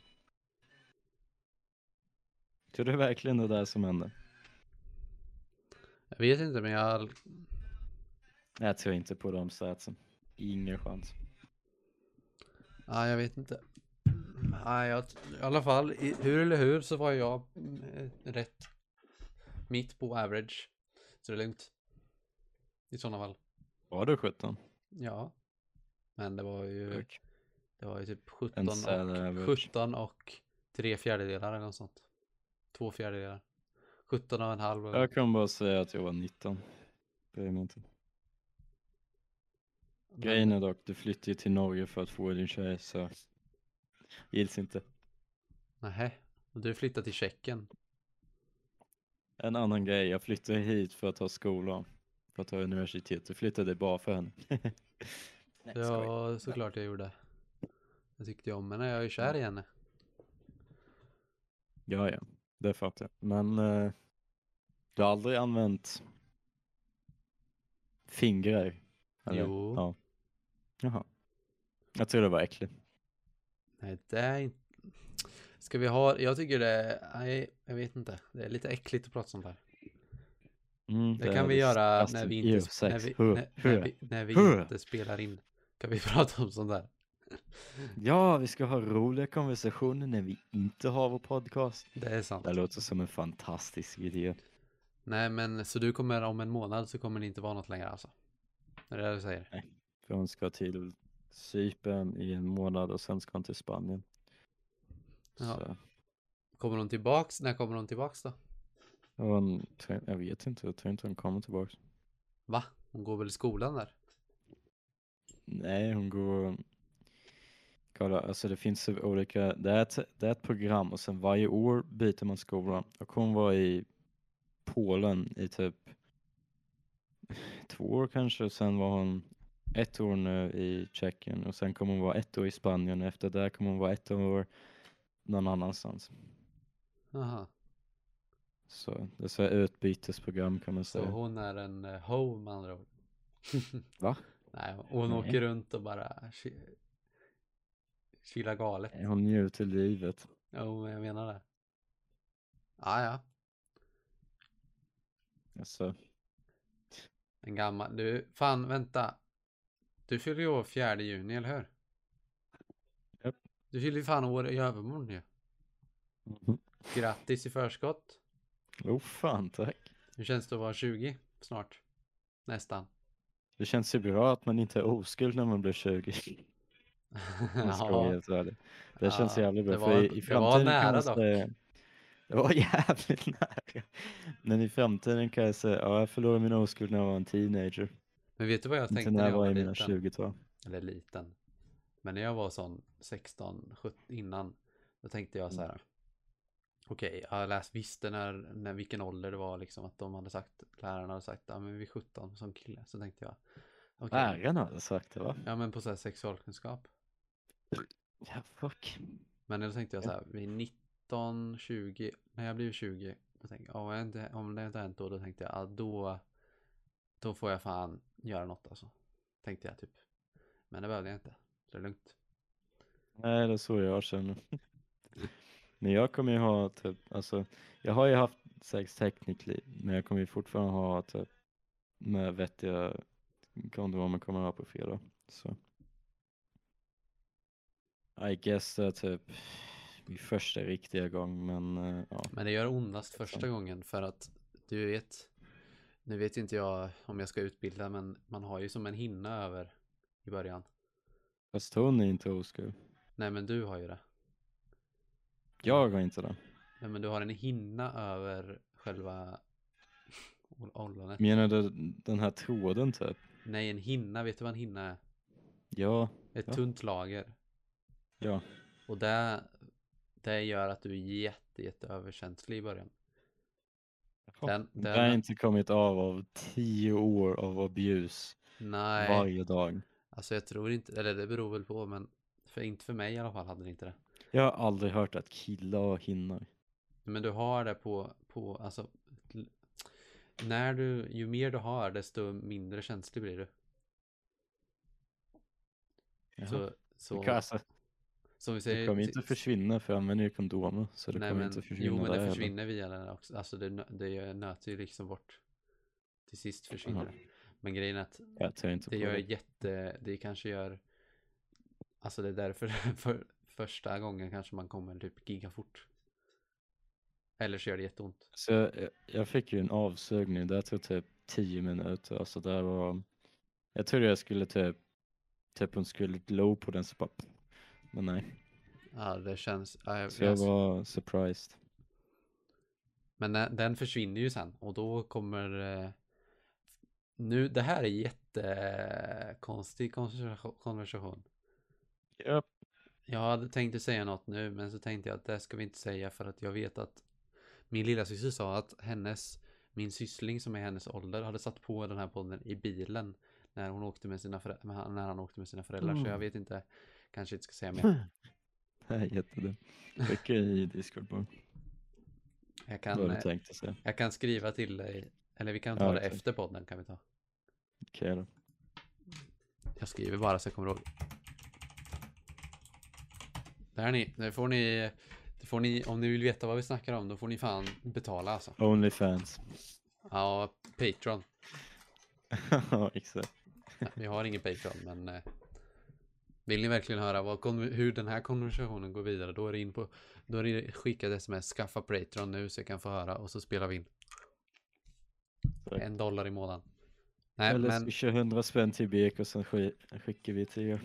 Tror du verkligen det där som hände? Jag vet inte, men jag, Jag tror inte på de statsen. Ingen chans. Ja, jag vet inte. Ja, jag, I alla fall, i, hur eller hur så var jag mm, rätt. Mitt på average. Så det är lugnt. I sådana fall. Var du 17? Ja. Men det var ju, Sjuk. det var ju typ En 17 sad och, average. 17 och tre fjärdedelar eller något sånt. Två fjärdedelar. 17 och en halv. eller- Jag kan bara säga att jag var 19. Bryr mig inte. men- Grejen är dock, du flyttade ju till Norge för att få din tjej så gills inte. Nähä. Och Du flyttade till Tjeckien. En annan grej, jag flyttade hit för att ha skola. För att ha universitet. Du flyttade bara för henne. Nej, skoj. Ja, såklart jag gjorde. Jag tyckte ju om henne, jag är ju kär i henne. Ja, ja, det fattar jag. Men eh, du har aldrig använt fingrar? Jo. Ja. Jaha. Jag tror det var äckligt. Nej, det är inte... Ska vi ha... Jag tycker det är... Nej, jag vet inte. Det är lite äckligt att prata sånt här. Mm, Det kan vi göra när vi inte... sp- När vi, när, när vi, när vi Huh. inte spelar in. Kan vi prata om sånt där? Ja, vi ska ha roliga konversationer när vi inte har vår podcast. Det är sant. Det låter som en fantastisk idé. Nej, men så du kommer om en månad så kommer det inte vara något längre alltså. Det är det du säger. För hon ska till Cypern i en månad och sen ska hon till Spanien. Ja. Så. Kommer hon tillbaks? När kommer hon tillbaks då? Hon, tror- jag vet inte, jag tror inte hon kommer tillbaka. Va? Hon går väl i skolan där? Nej, hon går... Kolla, alltså det finns så olika... Det är, ett, det är ett program och sen varje år byter man skola. Och hon var i Polen i typ två år kanske och sen var hon ett år nu i Tjeckien och sen kommer hon vara ett år i Spanien och efter det kommer hon vara ett år någon annanstans. Aha. Så det är så här utbytesprogram kan man Så säga. hon är en eh, hoe med andra ord. Va? Nej, hon Nej. åker runt och bara... ki- Chillar galet. Hon njuter livet. Jo, men jag menar det. Ah, ja, Alltså, En gammal, du, fan vänta. Du fyller ju år 4 juni, eller hur? Japp. Du fyller ju fan år i övermorgon ju. Mhm. Grattis i förskott. Oh fan, tack. Hur känns det att vara 20 snart? Nästan. Det känns ju bra att man inte är oskuld när man blir 20. om jag ska vara helt ärlig. Det känns Ja, jävligt bra. det för var- i, det i var framtiden kan nära jag dock. säga- Det var jävligt nära. Men i framtiden kan jag säga, ja jag förlorade min oskuld när jag var en teenager. Men vet du vad jag Inte tänkte när när jag jag var var i mina liten? 20-tal. Eller liten. Men när jag var sån 16, 17 innan. Då tänkte jag så här. Okej, jag läst, visste när, när, vilken ålder det var liksom. Att de hade sagt, lärarna hade sagt, ja men vi är 17 som kille. Så tänkte jag. okej, Läraren hade sagt det va? Ja men på så här sexualkunskap. Ja, fuck. Men då tänkte jag så här, vid 19, 20, när jag blev 20, då tänkte jag, "Ja, inte- om det inte har hänt då, då tänkte jag, ja, då, då får jag fan göra något alltså. Tänkte jag typ. Men det behövde jag inte. Så Det är lugnt. Nej, det är så jag känner. Men jag kommer ju ha typ, alltså, jag har ju haft sex technically, men jag kommer ju fortfarande ha typ med vettiga kondomer kommer jag ha på fredag. Så. I guess det är typ min första riktiga gång, men eh, ja. Men det gör ondast Liksom. första gången för att du vet, nu vet inte jag om jag ska utbilda men man har ju som en hinna över i början. Fast hon är inte oskuld. Nej men du har ju det. Jag har inte det. Nej men du har en hinna över själva ollonet. Menar du den här tråden typ? Nej en hinna, vet du vad en hinna är? Ja, Ett Ja. tunt lager. ja. Och det, det gör att du är jätte, jätte överkänslig i början. Den, Det har den, inte kommit av av tio år av abuse. nej, Varje dag. alltså jag tror inte, eller det beror väl på, men för, inte för mig i alla fall hade det inte det. Jag har aldrig hört att killar har hinnor. Men du har det på, på alltså, l- när du, ju mer du har, desto mindre känslig blir du. Så, så, Kassa, som vi det säger, alltså, kommer inte till- försvinna för jag använder ju kondomer. Så det nej, kommer men, inte försvinna Jo, men där det heller. försvinner via den också. Alltså det, nö- det nöter ju liksom bort. Till sist försvinner Jaha. det. Men grejen är att Jag tror inte Det på gör det. jätte, det kanske gör, alltså det är därför för första gången kanske man kommer typ giga fort. Eller så gör det jätteont. Så jag, jag fick ju en avsugning. Det tog typ tio minuter. Alltså det var... Jag trodde jag skulle typ... Typ hon skulle glo på den så bara... Men nej. Ja, det känns, ja, jag, Så jag jag, var surprised. men den, den försvinner ju sen och då kommer, eh, nu, det här är jättekonstig konversation- konversation. Japp. Jag hade tänkt att säga något nu, men så tänkte jag att det ska vi inte säga för att jag vet att min lilla syster sa att hennes, min syssling som är hennes ålder hade satt på den här podden i bilen när hon åkte med sina föräldrar, när han- när han åkte med sina föräldrar, så jag Mm. vet inte, kanske inte ska säga mer. Det här är jättedumt. Skicka i discord bara. Jag Vad kan, du eh, tänkte säga. jag kan skriva till dig, eller vi kan ta Ja, det okej. efter podden kan vi ta. Okej då. Jag skriver bara så jag kommer ihåg. Där ni, det får ni, det får ni, om ni vill veta vad vi snackar om, då får ni fan betala alltså. Onlyfans. Ja, Patreon. Ja, exakt. Nej, Vi har ingen Patreon, men eh, vill ni verkligen höra vad, kon- hur den här konversationen går vidare, då är det in på, då är det skicka ett sms, skaffa Patreon nu så jag kan få höra och så spelar vi in. Tack. En dollar i månaden. Nej, Eller men swisha 100 spänn till BK och sen sk- skickar vi till er.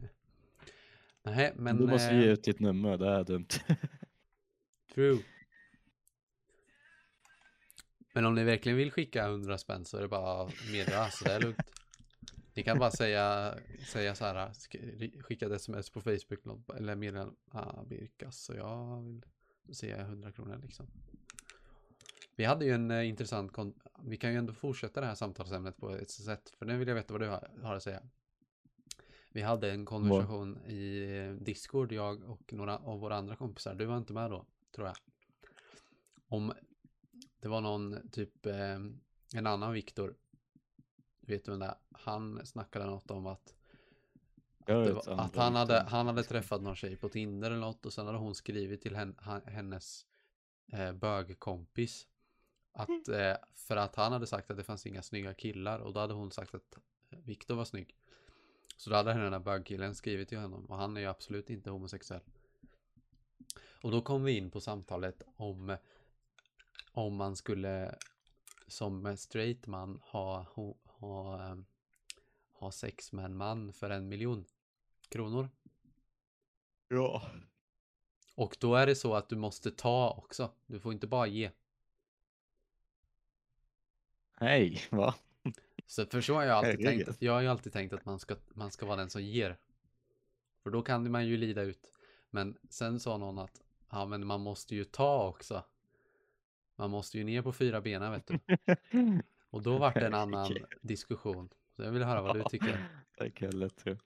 nej, men. du måste ge eh, ut ditt nummer, det är dumt. True. Men om ni verkligen vill skicka 100 spänn så är det bara att meddela, så det är lugnt. Ni kan bara säga, säga så här, sk- skicka ett sms på Facebook eller något, eller meddela ah, Birkas så jag vill säga 100 kronor liksom. Vi hade ju en eh, intressant, kon- vi kan ju ändå fortsätta det här samtalsämnet på ett sätt, för nu vill jag veta vad du har, har att säga. Vi hade en konversation i eh, Discord, jag och några av våra andra kompisar, du var inte med då, tror jag. Om det var någon, typ eh, en annan Viktor, vet du vem det är? Han snackade något om att, Jag har det ett var, andra att han, hade, Viktor. han hade träffat någon tjej på Tinder eller något och sen hade hon skrivit till hen, ha- hennes eh, bögkompis Att, eh, för att han hade sagt att det fanns inga snygga killar och då hade hon sagt att Viktor var snygg. Så då hade den här bögkillen skrivit till honom och han är ju absolut inte homosexuell. Och då kom vi in på samtalet om om man skulle som straight man ha, ha, ha, eh, ha sex med en man för en miljon kronor. Ja. Och då är det så att du måste ta också. Du får inte bara ge. Hej, va? Så för så har jag alltid Herregud. tänkt. Att, jag har ju alltid tänkt att man ska, man ska vara den som ger. För då kan man ju lida ut. Men sen sa någon att ja, men man måste ju ta också. Man måste ju ner på fyra benen vet du. Och då vart det en annan Herregud. diskussion. Så jag vill höra vad du tycker. Det kan jag lätt tro.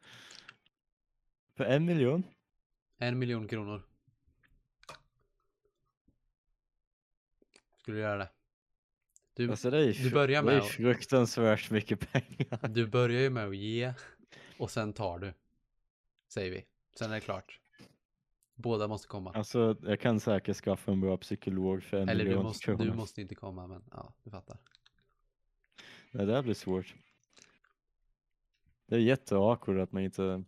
För en miljon? En miljon kronor. Skulle du göra det? Du, Alltså det är, ju du fru- börjar det med är ju att- fruktansvärt mycket pengar. Du börjar ju med att ge och sen tar du. Säger vi. Sen är det klart. Båda måste komma. Alltså jag kan säkert skaffa en bra psykolog för en Eller du miljon måste, kronor. du måste inte komma men ja, du fattar. Det där blir svårt. Det är jätteawkward att man inte...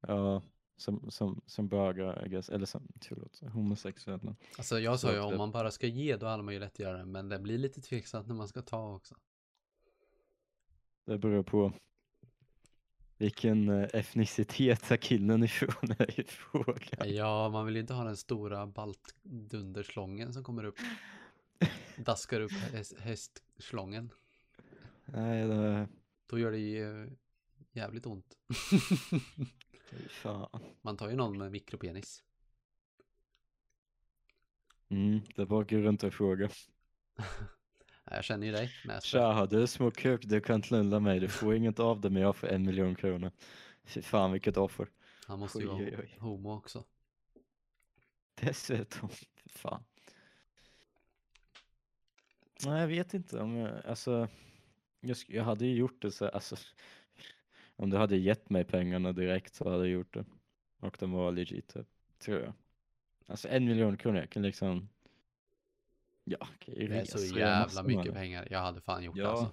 Ja, som, som, som bögar, I guess. Eller som, förlåt, homosexuella. Alltså jag sa ju om Absolut. man bara ska ge då hade man ju lätt att göra det. Men det blir lite tveksamt när man ska ta också. Det beror på vilken eh, etnicitet är killen ifrån är i fråga. Ja, man vill ju inte ha den stora baltdunderslången som kommer upp. Daskar upp häst- hästslången. Nej, det... Då gör det ju jävligt ont. fy Fan. Man tar ju någon med mikropenis. Mm, det är bara att gå runt och fråga. Ja, Jag känner ju dig. när jag Tja, har du små kuk, du kan knulla mig. Du får inget av det, men jag får en miljon kronor. Fy fan, vilket offer. Han måste ju Oj, vara oj, oj. homo också. Dessutom, fy fan. Nej, jag vet inte om jag, alltså, jag, sk- jag hade ju gjort det så, alltså, om du hade gett mig pengarna direkt så hade jag gjort det. Och de var legit, typ, tror jag. Alltså en miljon kronor, jag kan liksom, ja, kan ju Det är så resa och göra jävla massor med mycket det. pengar. Jag hade fan gjort det Ja, alltså.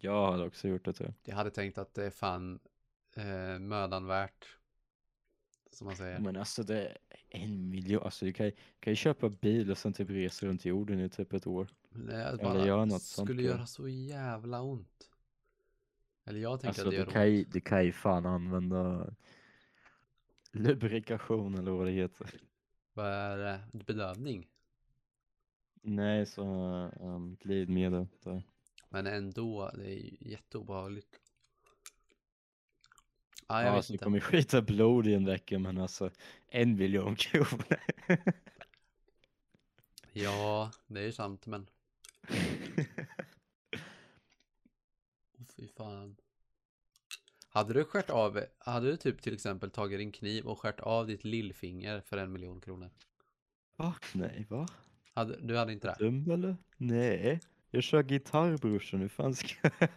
jag hade också gjort det typ. tror jag. Jag hade tänkt att det är fan eh, mödan värt. Som man säger. Men alltså det är en miljon, alltså du kan, ju- kan ju köpa bil och sen typ resa runt jorden i typ ett år. Men det är eller bara, gör det något sånt skulle då. göra så jävla ont. Eller jag tänker Alltså att det du gör kan, ju, ont. du kan ju fan använda lubrikation eller vad det heter. Vad är det? Bedövning. Nej, så um, glidmedel. Där. Men ändå, det är ju jätteobehagligt. Ah, jag Ja, vet alltså, du inte. kommer ju skita blod i en vecka men alltså en miljon kronor. Ja, det är ju sant men. Åh, Fy fan. Hade du skärt av, hade du typ till exempel tagit din kniv och skärt av ditt lillfinger för en miljon kronor? va? Nej, va? Hade, du hade inte det? Dum eller? Nej. Jag kör gitarr brorsan, hur fan ska jag?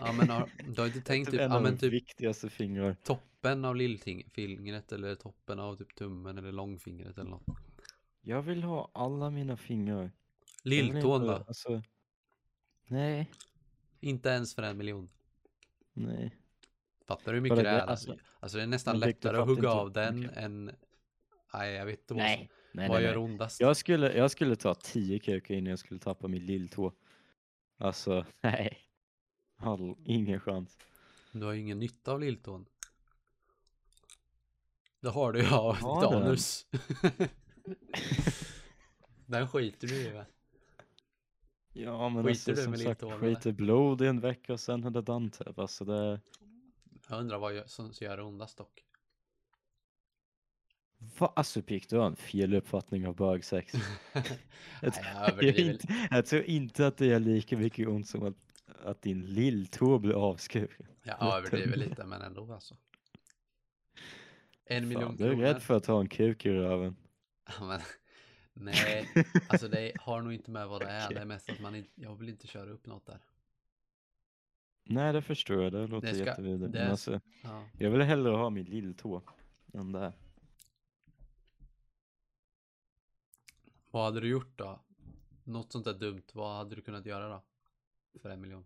Ja men har, du har inte tänkt typ, en ja av men de typ viktigaste fingrar. toppen av lillfingret eller toppen av typ tummen eller långfingret eller något. Jag vill ha alla mina fingrar. Jag vill Lilltån inte, då? Alltså... Nej, Inte ens för en miljon. nej. Fattar du hur mycket det Kolla, det- är? Alltså, alltså- alltså det är nästan Men Victor, lättare att fattar hugga inte- av den okej. än... Nej jag vet inte vad, Nej. som- nej, vad nej, gör nej. ondast. Jag skulle, jag skulle ta tio kukar innan jag skulle tappa min lilltå. Alltså, nej. All, ingen chans. Du har ju ingen nytta av lilltån. Det har du ju av Har ditt den? anus. den skiter du i va? Ja, men Skiter alltså, du som med sagt, lilltån, eller? skiter blod i en vecka och sen är det Danteb. Alltså, det... Jag undrar vad gör- som som gör det ondast dock. Va? Alltså, Pick, du har en fel uppfattning av bögsex. Nej, tror- jag Jag, är överdriver. inte, jag tror inte att det gör lika mycket ont som att, att din lilltå blir avskuren. Jag överdriver lite men ändå alltså. En miljon Fan, du är kronor. rädd för att ha en kuk i röven. Ja, men, nej, alltså det har nog inte med vad det är. Det är mest att man inte, jag vill inte köra upp något där. Nej, det förstår jag. Det låter ska- jättevidrigt. det Men är- alltså, Ja. jag vill hellre ha min lilltå än det här. Vad hade du gjort då? Något sånt där dumt, vad hade du kunnat göra då? För en miljon?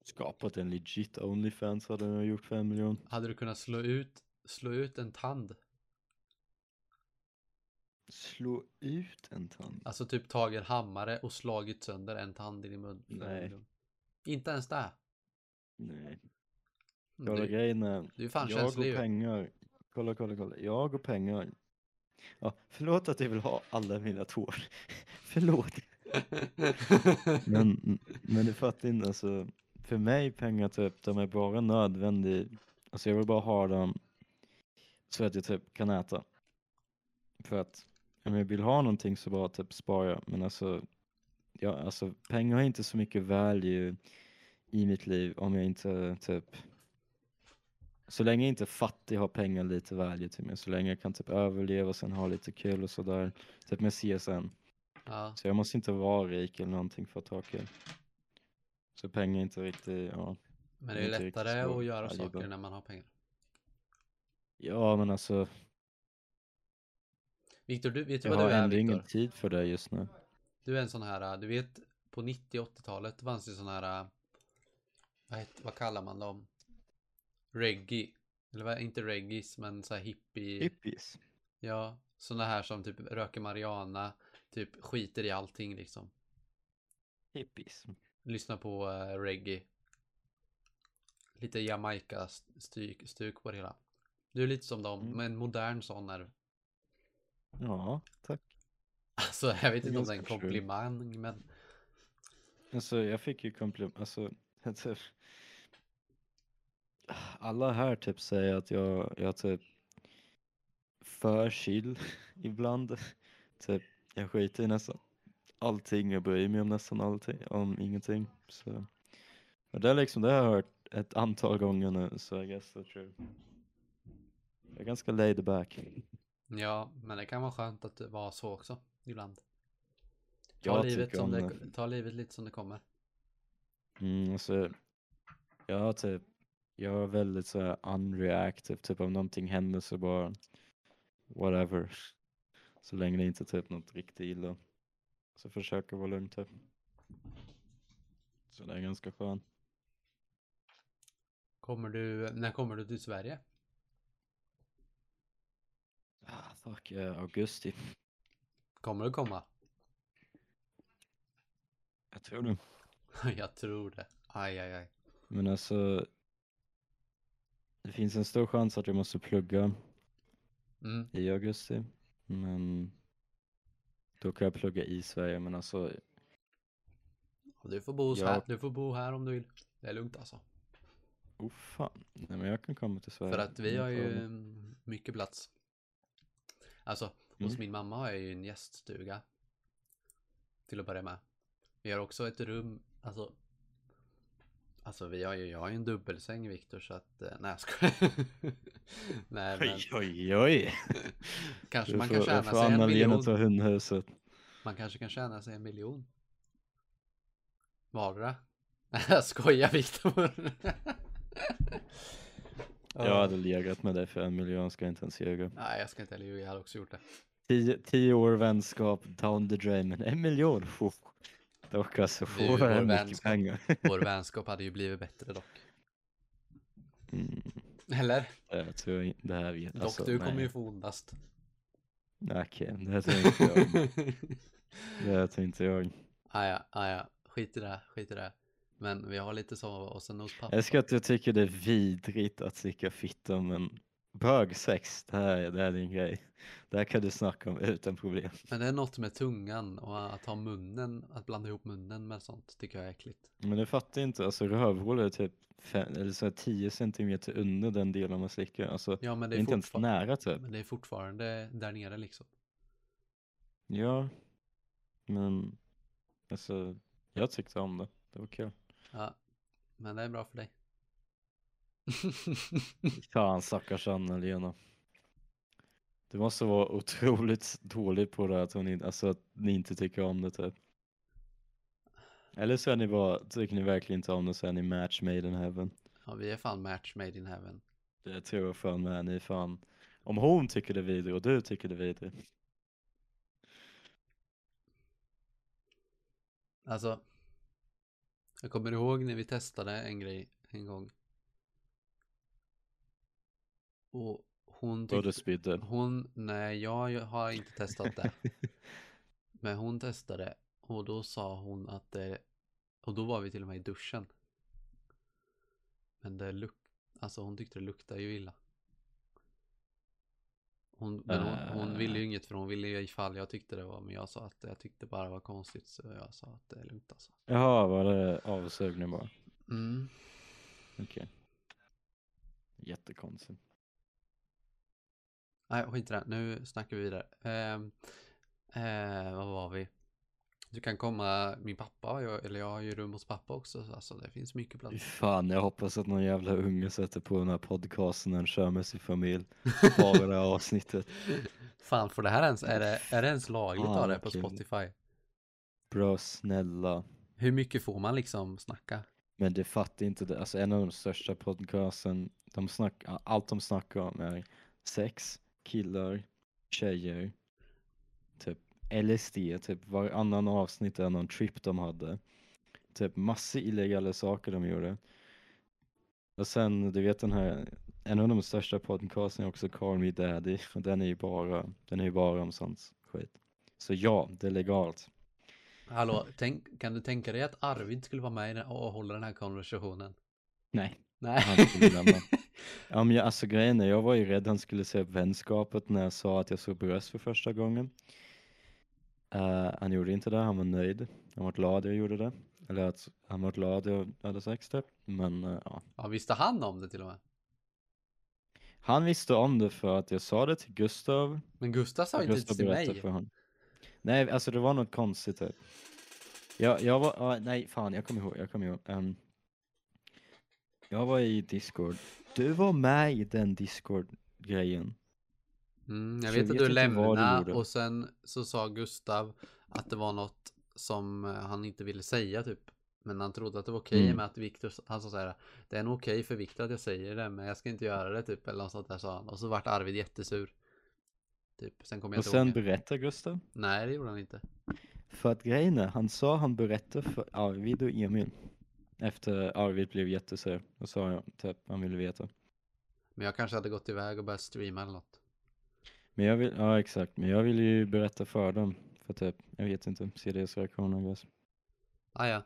Skapat en legit Onlyfans hade jag gjort för en miljon. Hade du kunnat slå ut, slå ut en tand? Slå ut en tand. Alltså typ tagit hammare och slagit sönder en tand i din mun? för en Nej. miljon? Inte ens det? Nej. Kolla Du, grejen är, du är fan jag känslig och ju. pengar. Kolla, kolla, kolla. Jag och pengar. Ja, förlåt att jag vill ha alla mina tår. förlåt. Men, men du fattar inte, alltså. För mig pengar typ, de är bara nödvändiga. Alltså jag vill bara ha dem så att jag typ kan äta. För att om jag vill ha någonting så bara typ sparar jag. Men alltså, ja, alltså pengar har inte så mycket value i mitt liv om jag inte typ så länge jag inte är fattig har pengar lite value till mig. Så länge jag kan typ överleva och sen ha lite kul och sådär. Typ med CSN. Ja, Så jag måste inte vara rik eller någonting för att ha kul. Så pengar är inte riktigt, ja. men det är ju inte riktigt lättare så att göra valuable. saker när man har pengar. Ja men alltså, Viktor, du, vet du jag vad du har är ändå ingen Viktor? tid för det just nu. Du är en sån här, du vet på 90-80-talet fanns det sån här, vad, het, vad kallar man dem? Reggae. Eller vad, inte reggae, men så här hippie. Hippies. Ja, såna här som typ röker marijuana, typ skiter i allting liksom. Hippies. Lyssnar på eh, reggae. Lite Jamaica-stuk på det hela. Du är lite som dem, Mm. men modern sån är du. Ja, tack. Alltså jag vet inte Det är om det ganska är en true. komplimang, men Alltså jag fick ju komplim, alltså typ. Alla här typ säger att jag, jag typ för chill ibland. Typ, jag skiter i nästan allting, jag bryr mig om nästan allting, om ingenting. Så. Och det är liksom, det har jag hört ett antal gånger nu, så I guess that's true. Jag är ganska laid back. ja, men det kan vara skönt att vara så också ibland. Ta, Jag livet, tycker som om det, det. ta livet lite som det kommer. Mm, alltså, jag har typ, jag är väldigt så här unreactive, typ om någonting händer så bara whatever. Så länge det inte är typ något riktigt illa. Så försöker vara lugn typ. Så det är ganska skönt. Kommer du, när kommer du till Sverige? Ah, fuck, eh, augusti. Kommer du komma? Jag tror det. Jag tror det. Aj, aj, aj. Men alltså, det finns en stor chans att jag måste plugga Mm. i augusti. Men då kan jag plugga i Sverige, men alltså Du får bo Ja. här, du får bo här om du vill. Det är lugnt alltså. Oh fan, nej men jag kan komma till Sverige. För att vi Inga har ju problem. mm, mycket plats. Alltså, hos Mm. min mamma har jag ju en gäststuga. Till att börja med. Vi har också ett rum, alltså. Alltså vi har ju, jag har ju en dubbelsäng Viktor så att, eh, nej jag skojar. Nej men, Oj oj oj! kanske Du man får, kan tjäna jag får sig en Anna-Lena miljon. ta hundhuset. Man kanske kan tjäna sig en miljon. Vardera. Nej, jag skojar Viktor. Jag hade legat med dig för en miljon, ska jag inte ens ljuga. Nej, jag ska inte heller ljuga. Jag hade också gjort det. Tio, tio år vänskap, down the drain, men en miljon! Oh. Dock alltså, Det är ju får vår jag mycket vänskap. pengar. Vår vänskap hade ju blivit bättre dock. Mm, Eller? det här tror jag inte, det här vet Dock, alltså, du nej. kommer ju få ondast. Nej, Okej, det här tror inte jag. Det här tror inte jag. Aja, aja. ah, Skit i det, skit i det. Men vi har lite så och sen hos pappa. Jag ska att jag tycker det är vidrigt att slicka fitta men bögsex, det här, är- det här är din grej. Det här kan du snacka om utan problem. Men det är något med tungan och att ha munnen, att blanda ihop munnen med sånt tycker jag är äckligt. Men du fattar inte, alltså rövhålet är typ fem, eller så här 10 centimeter under den delen man slickar. Alltså Ja, men det det är är, inte ens fortfar- nära typ. men det är fortfarande där nere liksom. Ja, men alltså jag tyckte om det. Det var kul. Ja, men det är bra för dig. Fan stackars Anna-Lena. Du måste vara otroligt dålig på det här, att, hon in, alltså, att ni inte tycker om det typ. Eller så är ni bara, tycker ni verkligen inte om det så är ni match made in heaven. ja, vi är fan match made in heaven. Det tror jag fan med, ni är fan. Om hon tycker det är vidrigt och du tycker det är vidrigt. Alltså. Jag kommer ihåg när vi testade en grej en gång. Och hon Vad du tyckte, spydde. hon, nej jag har inte testat det. Men hon testade och då sa hon att det, och då var vi till och med i duschen. Men det luk, alltså hon tyckte det luktade ju illa. Hon, men hon, hon ville ju inget för hon ville ju ifall jag tyckte det var, men jag sa att jag tyckte bara det var konstigt så jag sa att det är lugnt alltså. Jaha, var det avsugning bara? Mm. Okej. Jättekonstigt. Nej, skit i det. Nu snackar vi vidare. Ehm, eh, vad var vi? Du kan komma, min pappa, jag, eller jag har ju rum hos pappa också, så alltså det finns mycket Fy plats. Fan, jag hoppas att någon jävla unge sätter på den här podcasten och kör med sin familj. Bara det här avsnittet. Fan, för det här ens, är det, är det ens lagligt att ha Fan, det på Ah, vad kul. Spotify? Bra, snälla. Hur mycket får man liksom snacka? Men det fattar inte det. Alltså en av de största podcasten, de snack, ja, allt de snackar om är sex, killar, tjejer, typ LSD, typ varannan avsnitt är någon trip de hade. Typ massor illegala saker de gjorde. Och sen, du vet den här, en av de största podcasten är också Call Me Daddy och den är ju bara, den är ju bara om sånt skit. Så ja, det är legalt. Hallå, tänk, kan du tänka dig att Arvid skulle vara med i den, och hålla den här konversationen? Nej. Nej. Han skulle lämna. Ja, men jag, alltså grejen är, jag var ju rädd han skulle se upp vänskapet när jag sa att jag såg bröst för första gången. Eh, han gjorde inte det, han var nöjd. Han var glad jag gjorde det. Eller att han var glad jag hade sex det. Men eh, ja. ja, visste han om det till och med? Han visste om det för att jag sa det till Gustav. Men Gustav sa och inte Gustav ens till berättade mig. för honom. Nej, alltså det var något konstigt där. Jag, jag var, ja, nej fan jag kommer ihåg, jag kommer ihåg. Ehm, jag var i Discord. Du var med i den Discord-grejen. Mm, jag Så jag vet att vet du inte vad du lämnade gjorde. och sen så sa Gustav att det var något som eh, han inte ville säga typ. Men han trodde att det var okej Mm. med att Viktor, han sa så här, det är nog okej för Viktor att jag säger det men jag ska inte göra det typ eller något sånt där sa han. Och så vart Arvid jättesur. Typ, sen kommer jag Och inte ihåg sen mer. berättar Gustav. Nej det gjorde han inte. För att grejen är, han sa han berättar för Arvid och Emil. Efter Arvid blev jättesur. Och sa jag typ, han ville veta. Men jag kanske hade gått iväg och börjat streama eller något. Men jag vill, ja exakt, men jag ville ju berätta för dem. För typ, jag vet inte, se deras reaktioner I guess. Ah, ja.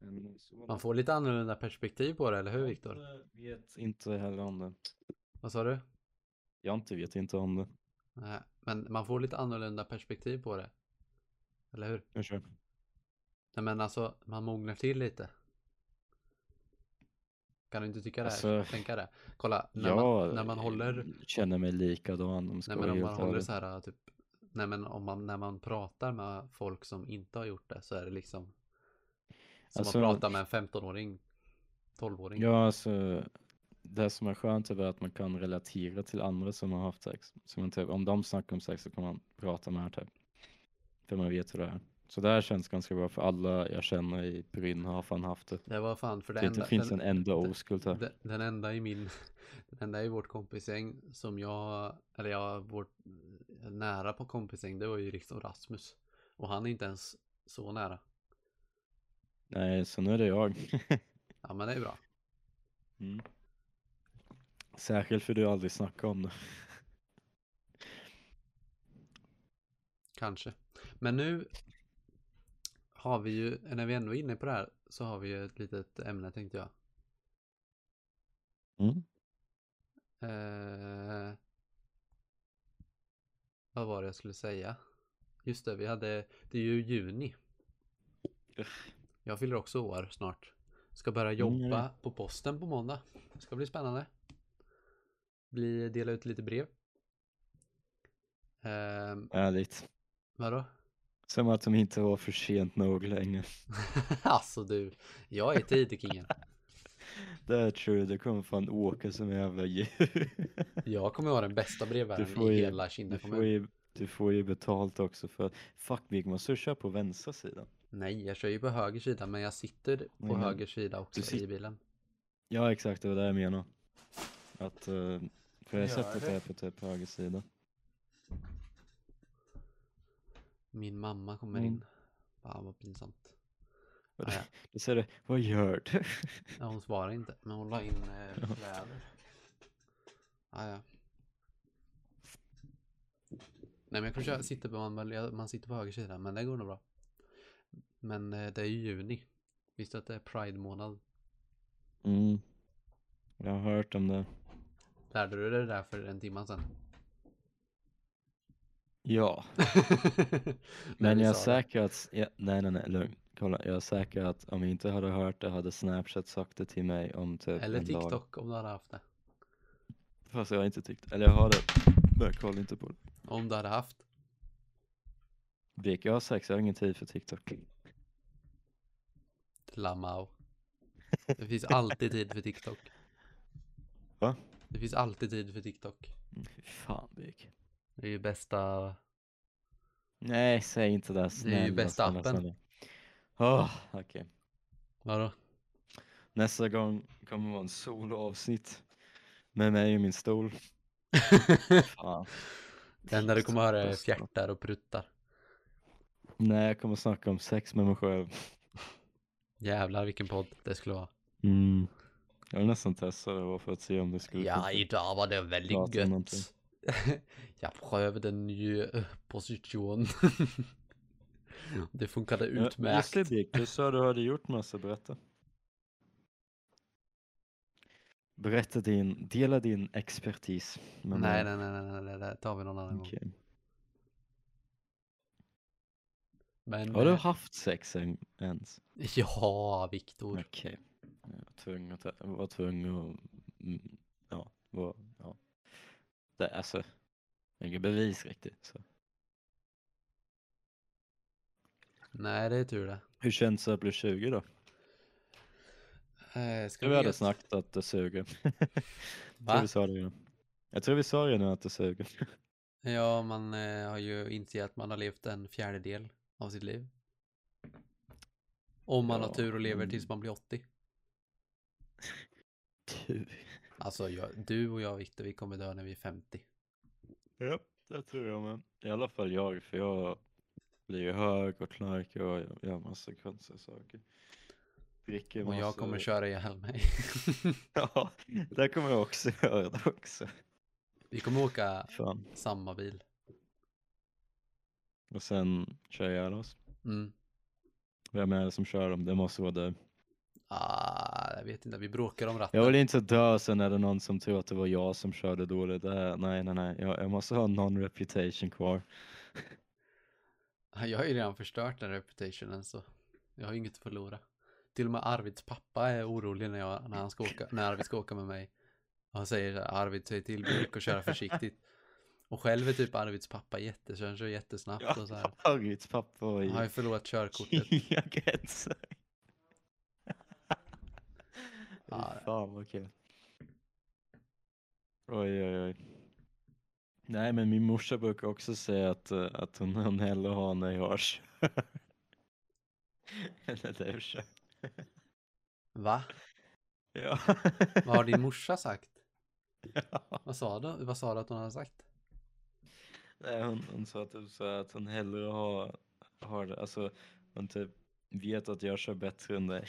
Mm. man får lite annorlunda perspektiv på det eller hur Viktor? Jag vet inte heller om det. Vad sa du? Jag inte vet inte om det. Nej, men man får lite annorlunda perspektiv på det. Eller hur? Jag kör. Nej men alltså, man mognar till lite. Kan du inte tycka det? Här? Alltså, Tänka det? Kolla, när, jag man, när man håller, känner mig likadan om jag ska nej, men vara om helt man håller ärlig. så här typ, nej men om man, när man pratar med folk som inte har gjort det så är det liksom som Alltså- att prata med en 15-åring, 12-åring. Ja, alltså det som är skönt är att man kan relatera till andra som har haft sex. Så man typ, om de snackar om sex så kan man prata med här typ. För man vet hur det är. Så det här känns ganska bra för alla jag känner i Brynn har fan haft det. Det var fan för det Det inte enda, finns den, en enda oskuld här. den, den enda i min, den enda i vårt kompisgäng som jag, eller jag, vårt nära på kompisgäng det var ju liksom Rasmus. Och han är inte ens så nära. Nej, så nu är det jag. Ja men det är bra. Mm. Särskilt för du aldrig snackar om det. Kanske. Men nu har vi ju, när vi ändå är inne på det här, så har vi ju ett litet ämne tänkte jag. Mm. Eh, vad var det jag skulle säga? Just det, vi hade, det är ju juni. Jag fyller också år snart. Ska börja Mm, jobba jag på posten på måndag. Det ska bli spännande. Bli, dela ut lite brev. Eh, Ärligt. vadå? Som att de inte var för sent nog längre. alltså du, jag är tidig kingen. Där tror jag det kommer fan åka som en jävla djur. Jag kommer vara den bästa Du brevbäraren får i ju- hela Kinda Du får, kommun. ju, du får ju betalt också för att fuck Big måste du köra på vänstra sidan. Nej, jag kör ju på höger sida men jag sitter på men höger sida också Mm. sit- i bilen. Ja exakt, det var det jag menade. Att, eh, för jag har Gör sett att det det. är på typ höger sida. Min mamma kommer Mm. in. Bara, vad pinsamt. Och Ah, det- Då säger du, vad gör du? Ja, hon svarar inte, men hon la in eh, kläder. Ah, ja. Nej, men jag kan köra, sitter på, man, väl- man sitter på höger sida, men det går nog bra. Men eh, det är ju juni. Visst att det är Pride-månad? Mm. Jag har hört om det. Lärde du dig det där för en timme sedan? Ja, När men vi jag är sa det. säker att, ja, nej nej nej lugn. Kolla, jag är säker att om jag inte hade hört det hade Snapchat sagt det till mig om typ Eller en dag. TikTok om du hade haft det. Fast jag har inte tyckt, eller jag har det, men jag kollar inte på det. Om du hade haft. Vik, jag har sex, jag har ingen tid för TikTok. Lamau. Det finns alltid tid för TikTok. Va? Det finns alltid tid för TikTok. Mm, Fy fan Vik. Det är ju bästa Nej, säg inte det. Snälla, bästa snälla, appen. snälla. Åh, Okej, Vadå? nästa gång kommer det vara en soloavsnitt med mig i min stol. Fan. Det enda du kommer höra är Bästa. fjärtar och pruttar. Nej, jag kommer snacka om sex med mig själv. Jävlar vilken podd det skulle vara. Mm. Jag vill nästan testa det bara för att se om det skulle Ja, funka. idag var det väldigt Prata om någonting. gött. Jag prövade en ny eh, position. Det funkade Ja, Just utmärkt. det Dick, du sa du hade gjort massa, berätta. Berätta din, dela din expertis. med Nej, mig. nej, nej, nej, nej, det där tar vi någon annan gång. Okej. Men, Har du eh, haft sex en, ens? Ja, Viktor. Okej. Jag var tvungen att, jag var tvungen att, mm, ja, var, ja. Det, alltså, inga bevis riktigt. Så. Nej, det är tur det. Hur känns det att bli 20 då? Eh, Jag ska tror vi hade gött? snackat att det suger. Jag tror Va? vi sa det ju. Jag tror vi sa det nu att det suger. Ja, man eh, har ju insett att man har levt en fjärdedel av sitt liv. Om man har Ja, tur och lever mm. tills man blir 80. Tur. Alltså jag, du och jag Viktor, vi kommer dö när vi är 50. Ja, det tror jag med. I alla fall jag, för jag blir ju hög och knarkar och jag gör massa konstiga saker. Dricker Och jag massa- kommer köra ihjäl mig. Ja, det kommer jag också göra det också. vi kommer åka Fan. samma bil. Och sen kör jag ihjäl oss. Mm. Vem är det som kör dem? Det måste vara du. Ah, jag vet inte, vi bråkar om ratten. Jag vill inte dö sen är det någon som tror att det var jag som körde dåligt. Det här, nej, nej, nej. Jag, jag måste ha någon reputation kvar. Jag har ju redan förstört den reputationen så jag har ju inget att förlora. Till och med Arvids pappa är orolig när, jag, när, han ska åka, när Arvid ska åka med mig. Och han säger Arvid säg till Birk och köra försiktigt. Och själv är typ Arvids pappa jättekör, han kör jättesnabbt och så här. Harriets pappa var Han har ju ju förlorat körkortet. inga gränser. Fy Ja, det- fan vad kul. Oj, oj, oj. Nej, men min morsa brukar också säga att, eh, att hon, hon hellre har när jag kör. Eller du kör. Va? Ja. Vad har din morsa sagt? Ja. Vad sa du? Vad sa du att hon hade sagt? Nej, hon, hon sa typ så här att hon hellre har, har det. Alltså, hon typ vet att jag kör bättre än dig.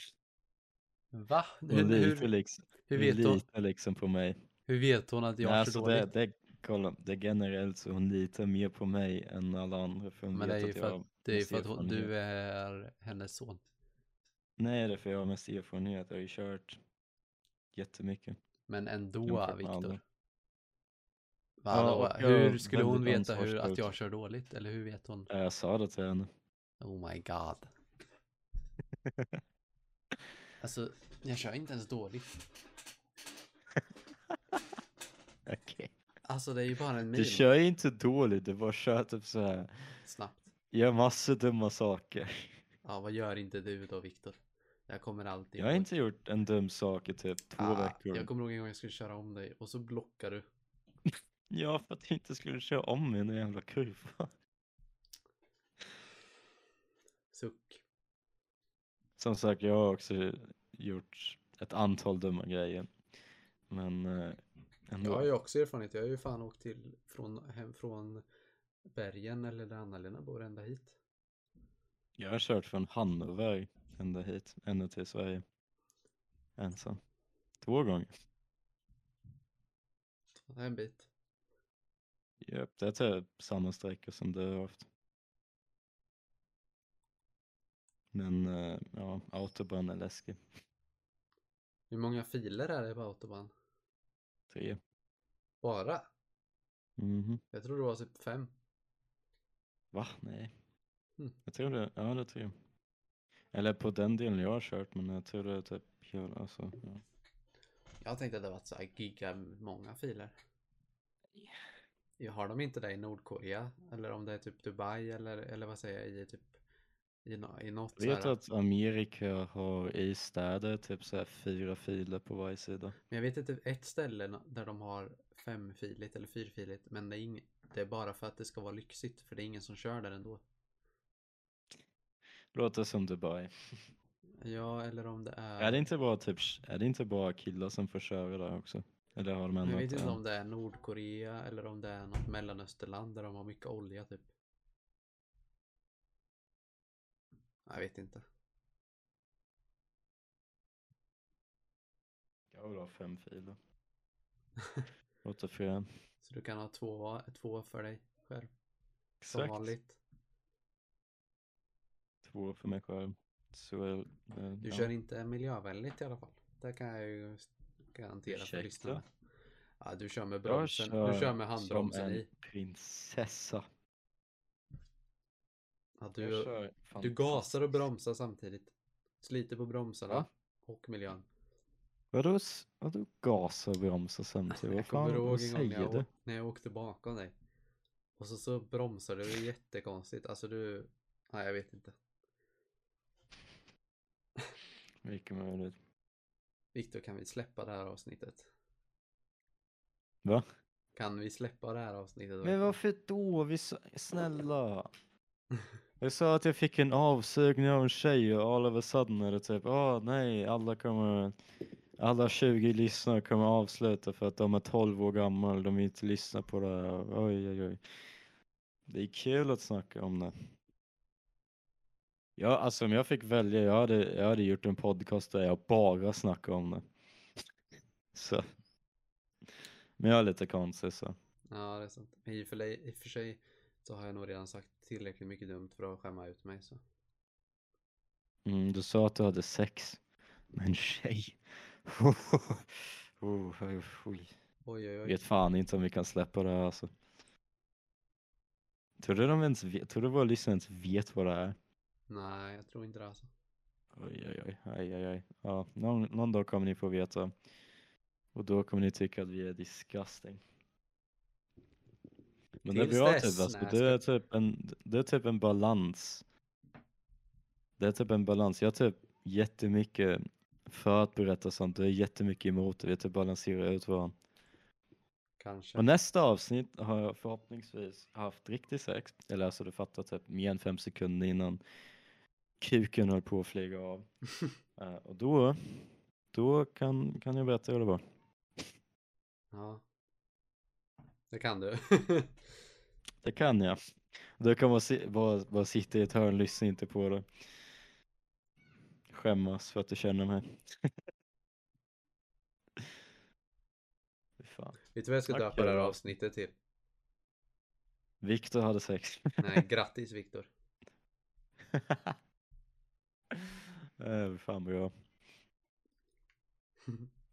Va? Hur, Hon litar hur, liksom, hur, hon vet, hon, litar liksom på mig. hur vet hon att jag Nej, är alltså så det, dåligt? det, kolla, det är generellt så hon litar mer på mig än alla andra för hon Men det är vet ju för att jag har... att, det är ju mest för att hon, du erfarenhet. är hennes son. Nej, det är för jag har mest erfarenhet. Jag har ju kört jättemycket. Men Jämfört ändå, med alla. Viktor. Ja, Vadå? och jag är hur skulle hon väldigt veta hur, att ansvarsfull. jag kör dåligt? Eller hur vet hon? Äh, Jag sa det till henne. Oh my god. Alltså, jag kör inte ens dåligt. Okej. Alltså det är ju bara en Du mil kör ju inte dåligt, du bara kör typ så här. snabbt. Gör massor dumma saker. Ja, vad gör inte du då, Viktor? Jag kommer alltid Jag har ihåg. inte gjort en dum sak i typ två Ah, veckor. Jag kommer ihåg en gång jag skulle köra om dig och så blockar du. Ja, för att jag inte skulle köra om i en jävla kurva. Suck. Som sagt, jag har också gjort ett antal dumma grejer. Men eh, ändå. Jag har ju också erfarenhet. Jag har ju fan åkt till från, hem från bergen eller där Anna-Lena bor ända hit. Jag har kört från Hannover ända hit, ända till Sverige. Ensam. Två gånger. Det är En bit. Japp, det är typ samma sträcka som du har haft. Men eh, ja, autobahn är läskig. Hur många filer är det på autobahn? Tre. Bara? Mhm. Jag tror det var typ fem. Va? Nej. Mm. Jag tror det, ja det är tre. Eller på den delen jag har kört, men jag tror det är typ, ja, alltså, ja. Jag tänkte att det var så här giga många filer. Jag har de inte det i Nordkorea? Eller om det är typ Dubai eller, eller vad säger jag i typ i, nå- i något Jag vet så här. att Amerika har i städer typ så här fyra filer på varje sida. Men jag vet inte ett ställe nå- där de har femfiligt eller fyrfiligt men det är, ing, det är bara för att det ska vara lyxigt för det är ingen som kör där ändå. Låter som Dubai. Ja, eller om det är... Är det inte bara typ, är det inte bara killar som får köra där också? Eller har de Men jag ändrat vet inte det? om det är Nordkorea eller om det är något mellanösterland där de har mycket olja typ. Jag vet inte. Jag vill ha fem filer. Låter frän. Så du kan ha två, va- två för dig själv. Som Exakt. vanligt. Två för mig själv. Så eh, är det. Du kör inte miljövänligt i alla fall. Det kan jag ju garantera för Ursäkta? lyssnarna. Ja, du kör med Jag bromsen. du kör med handbromsen som en i. prinsessa. Ja, Jag du, kör du gasar och bromsar samtidigt. Sliter på bromsarna Va? och miljön. Vadå, s- vadå gasar och bromsar samtidigt? Vad Jag kommer fan ihåg vad en gång när säger jag, du? å- när jag åkte bakom dig. Och så, så bromsade du jättekonstigt. Alltså du... Nej, jag vet inte. Vilken möjlighet. Viktor, kan vi släppa det här avsnittet? Va? Kan vi släppa det här avsnittet? Men verkligen? varför då? Vi sa... Snälla. Jag sa att jag fick en avsugning av en tjej och all of a sudden är det typ, åh nej, alla kommer, alla 20 lyssnare kommer avsluta för att de är 12 år gammal och de vill inte lyssna på det här. Oj, oj, oj. Det är kul att snacka om det. Ja, alltså om jag fick välja, jag hade, jag hade gjort en podcast där jag bara snackar om det. Så. Men jag är lite konstig så. Ja, det är sant. Men I och, för, dig- I och för sig så har jag nog redan sagt tillräckligt mycket dumt för att skämma ut mig. Så. Mm, du sa att du hade sex med en tjej. oh, oj, oj. Oj, oj, oj. Vet fan inte om vi kan släppa det här alltså. Tror du, de ens vet, tror du våra lyssnare ens vet vad det är? Nej, jag tror inte det alltså. Oj, oj, oj, aj, aj, aj. Ja, någon, någon dag kommer ni få veta. Och då kommer ni tycka att vi är disgusting. Men det är Tills bra dess, typ, alltså. nej, det, är typ en, det är typ en balans. Det är typ en balans. Jag har typ jättemycket för att berätta sånt. Du är jättemycket emot det. Vi typ balanserar ut varandra. Kanske. Och nästa avsnitt har jag förhoppningsvis haft riktig sex. Eller alltså du fattar typ mer än fem sekunder innan kuken höll på att flyga av. Eh, och då, då kan, kan jag berätta hur det var. Ja. Det kan du. Det kan jag. Du kan bara, si- bara, bara sitta i ett hörn, lyssna inte på det. Skämmas för att du känner mig. Fy Fan. Vet du vad jag ska Tack, döpa det här Gerard. avsnittet till? Viktor hade sex. Nej, grattis Viktor. Eh, Fan bra.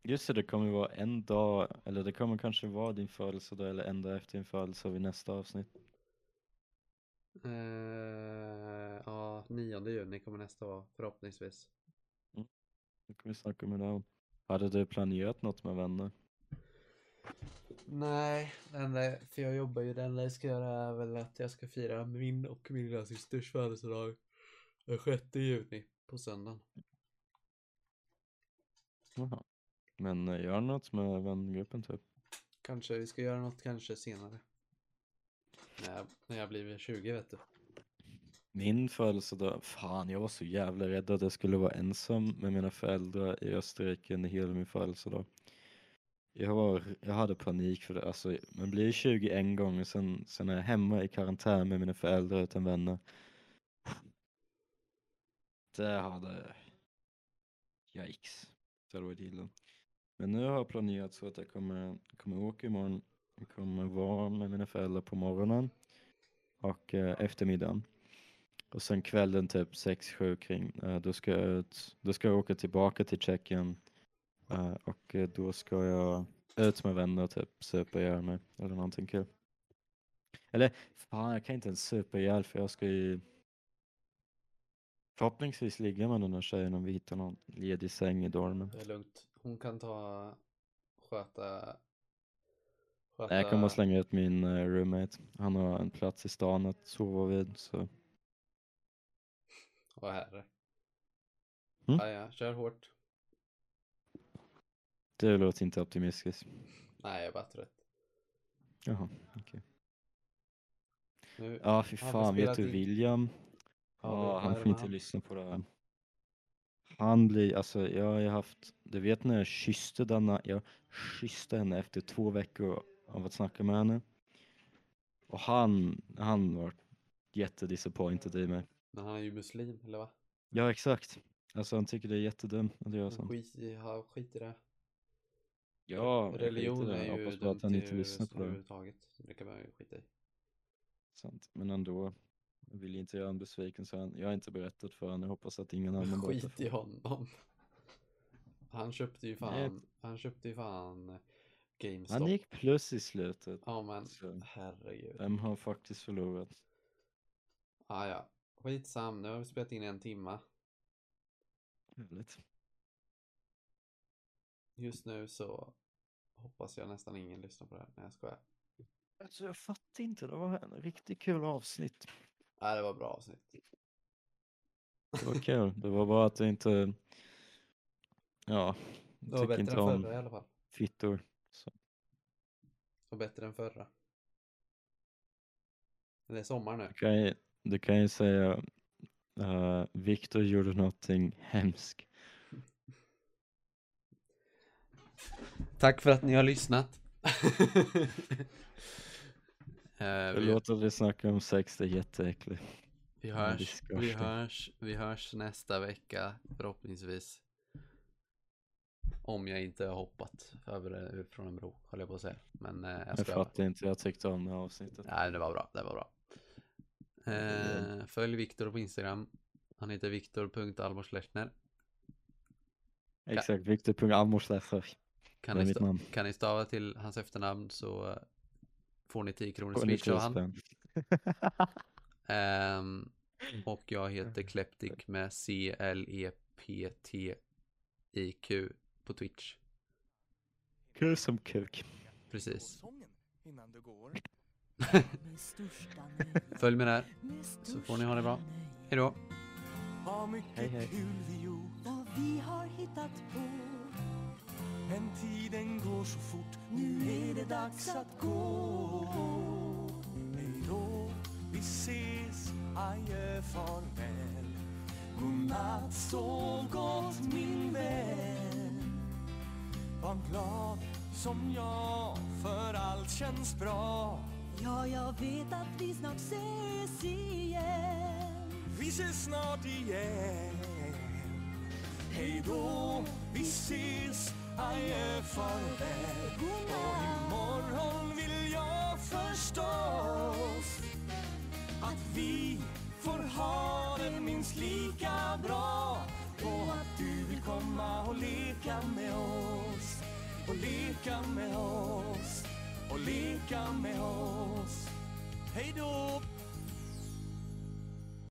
Just det, det kommer ju vara en dag, eller det kommer kanske vara din födelsedag eller en dag efter din födelsedag vid nästa avsnitt. Eh, ja, 9 juni kommer nästa vara förhoppningsvis. Då kommer vi snacka med dig. Hade du planerat något med vänner? Nej, det enda, för jag jobbar ju. Det enda jag ska göra är väl att jag ska fira min och min lilla systers födelsedag den 6 juni på söndagen. Jaha. Men eh, gör något med vängruppen typ. Kanske vi ska göra något kanske senare. När jag, när jag blir 20 vet du. Min födelsedag, fan jag var så jävla rädd att jag skulle vara ensam med mina föräldrar i Österrike under hela min födelsedag. Jag, var, jag hade panik för det. Alltså, man blir 20 en gång och sen, sen är jag hemma i karantän med mina föräldrar utan vänner. Det hade... Yikes. Det hade varit illa. Men nu har jag planerat så att jag kommer, kommer åka imorgon. Jag kommer vara med mina föräldrar på morgonen och eh, eftermiddagen. Och sen kvällen typ 6-7 kring, eh, då, ska jag ut, då ska jag åka tillbaka till Tjeckien eh, och eh, då ska jag ut med vänner och typ supa ihjäl mig eller någonting kul. Eller fan, jag kan inte ens supa ihjäl för jag ska ju förhoppningsvis ligga med den här tjejen om vi hittar någon ledig säng i dormen. Det är lugnt. Hon kan ta, sköta, sköta Nej, jag kommer att slänga ut min eh, roommate. Han har en plats i stan att sova vid så och här. Mm. Ja, ja, kör hårt. det låter inte optimistiskt. Nej, jag är bara trött. Jaha. Nu, Ja, fy Han har fan, vet spelat du in. William? Ja, Ja, vad han är det får med inte han? lyssna på det här. Han blir, alltså jag har ju haft, du vet när jag kysste denna, jag kysste henne efter två veckor av att snacka med henne. Och han, han var jättedisappointed i mig. men han är ju muslim, eller va? Ja, exakt. Alltså han tycker det är jättedumt att göra Han sånt. skit, i- ha, skit i det. Ja, jag skiter Religion i det. är Jag ju hoppas bara dumt att han i inte lyssnar på det. överhuvudtaget. Det kan man ju skita i. Sant. Men ändå, jag vill inte göra en besviken så han, jag har inte berättat för honom. Jag hoppas att ingen annan berättar Skit för i honom. honom. Han köpte ju Nej. fan, han köpte ju fan GameStop. Han gick plus i slutet. Ja men Så. herregud. Vem har faktiskt förlorat? Ah, ja. Skitsam, nu har vi spelat in en timma. Härligt. Just nu så hoppas jag nästan ingen lyssnar på det här. Nej jag skojar. Alltså jag fattar inte, det var en riktigt kul avsnitt. Nej det var bra avsnitt. Det var kul, det var bara att det inte... Ja, Det jag var tycker bättre än inte förra om i alla fall. fittor. Så. Det var bättre än förra. Men Det är sommar nu. Du, kan ju, du kan ju säga eh, Viktor gjorde någonting hemskt. Tack för att ni har lyssnat. Eh, vi, Förlåt att vi snackar om sex, det är jätteäckligt. vi, Ja, det är hörs, vi, skorsten. hörs, vi hörs nästa vecka förhoppningsvis. Om jag inte har hoppat över eh, från en bro, höll jag på att säga. Men eh, jag Jag skojar. bara. fattar inte, jag tyckte om det här avsnittet. Nej, det var bra. Det var bra. det- Eh, följ Viktor på Instagram. Han heter viktor.almorslechner. Exakt, ah, Viktor.Amorsleffer, det Kan, är ni mitt sta- namn. kan ni stava till hans efternamn så eh, får ni 10 kronor Får ni swish av 10 han. spänn? Ehm, och jag heter Kleptik med E C-L-E-P-T-I-Q på Twitch. Kul som kuk. Precis. Sången innan du går. Med största nöje. Följ med där. Med så får ni ha det bra. största nöje. Hej då. Vad Hej, mycket hej. kul vi gjort. Vad vi har hittat på. Men tiden går så fort. Nu är det dags att gå. Hej då, vi ses. Adjö, farväl. Godnatt, sov gott min vän. Var glad som jag, för allt känns bra. Ja, jag vet att vi snart ses igen. Vi ses snart igen. Hej då, vi ses, adjö, farväl. Och Godnatt. imorgon vill jag förstås att vi får ha det minst lika bra och att du vill komma och leka med oss och leka med oss och leka med oss. Hej då!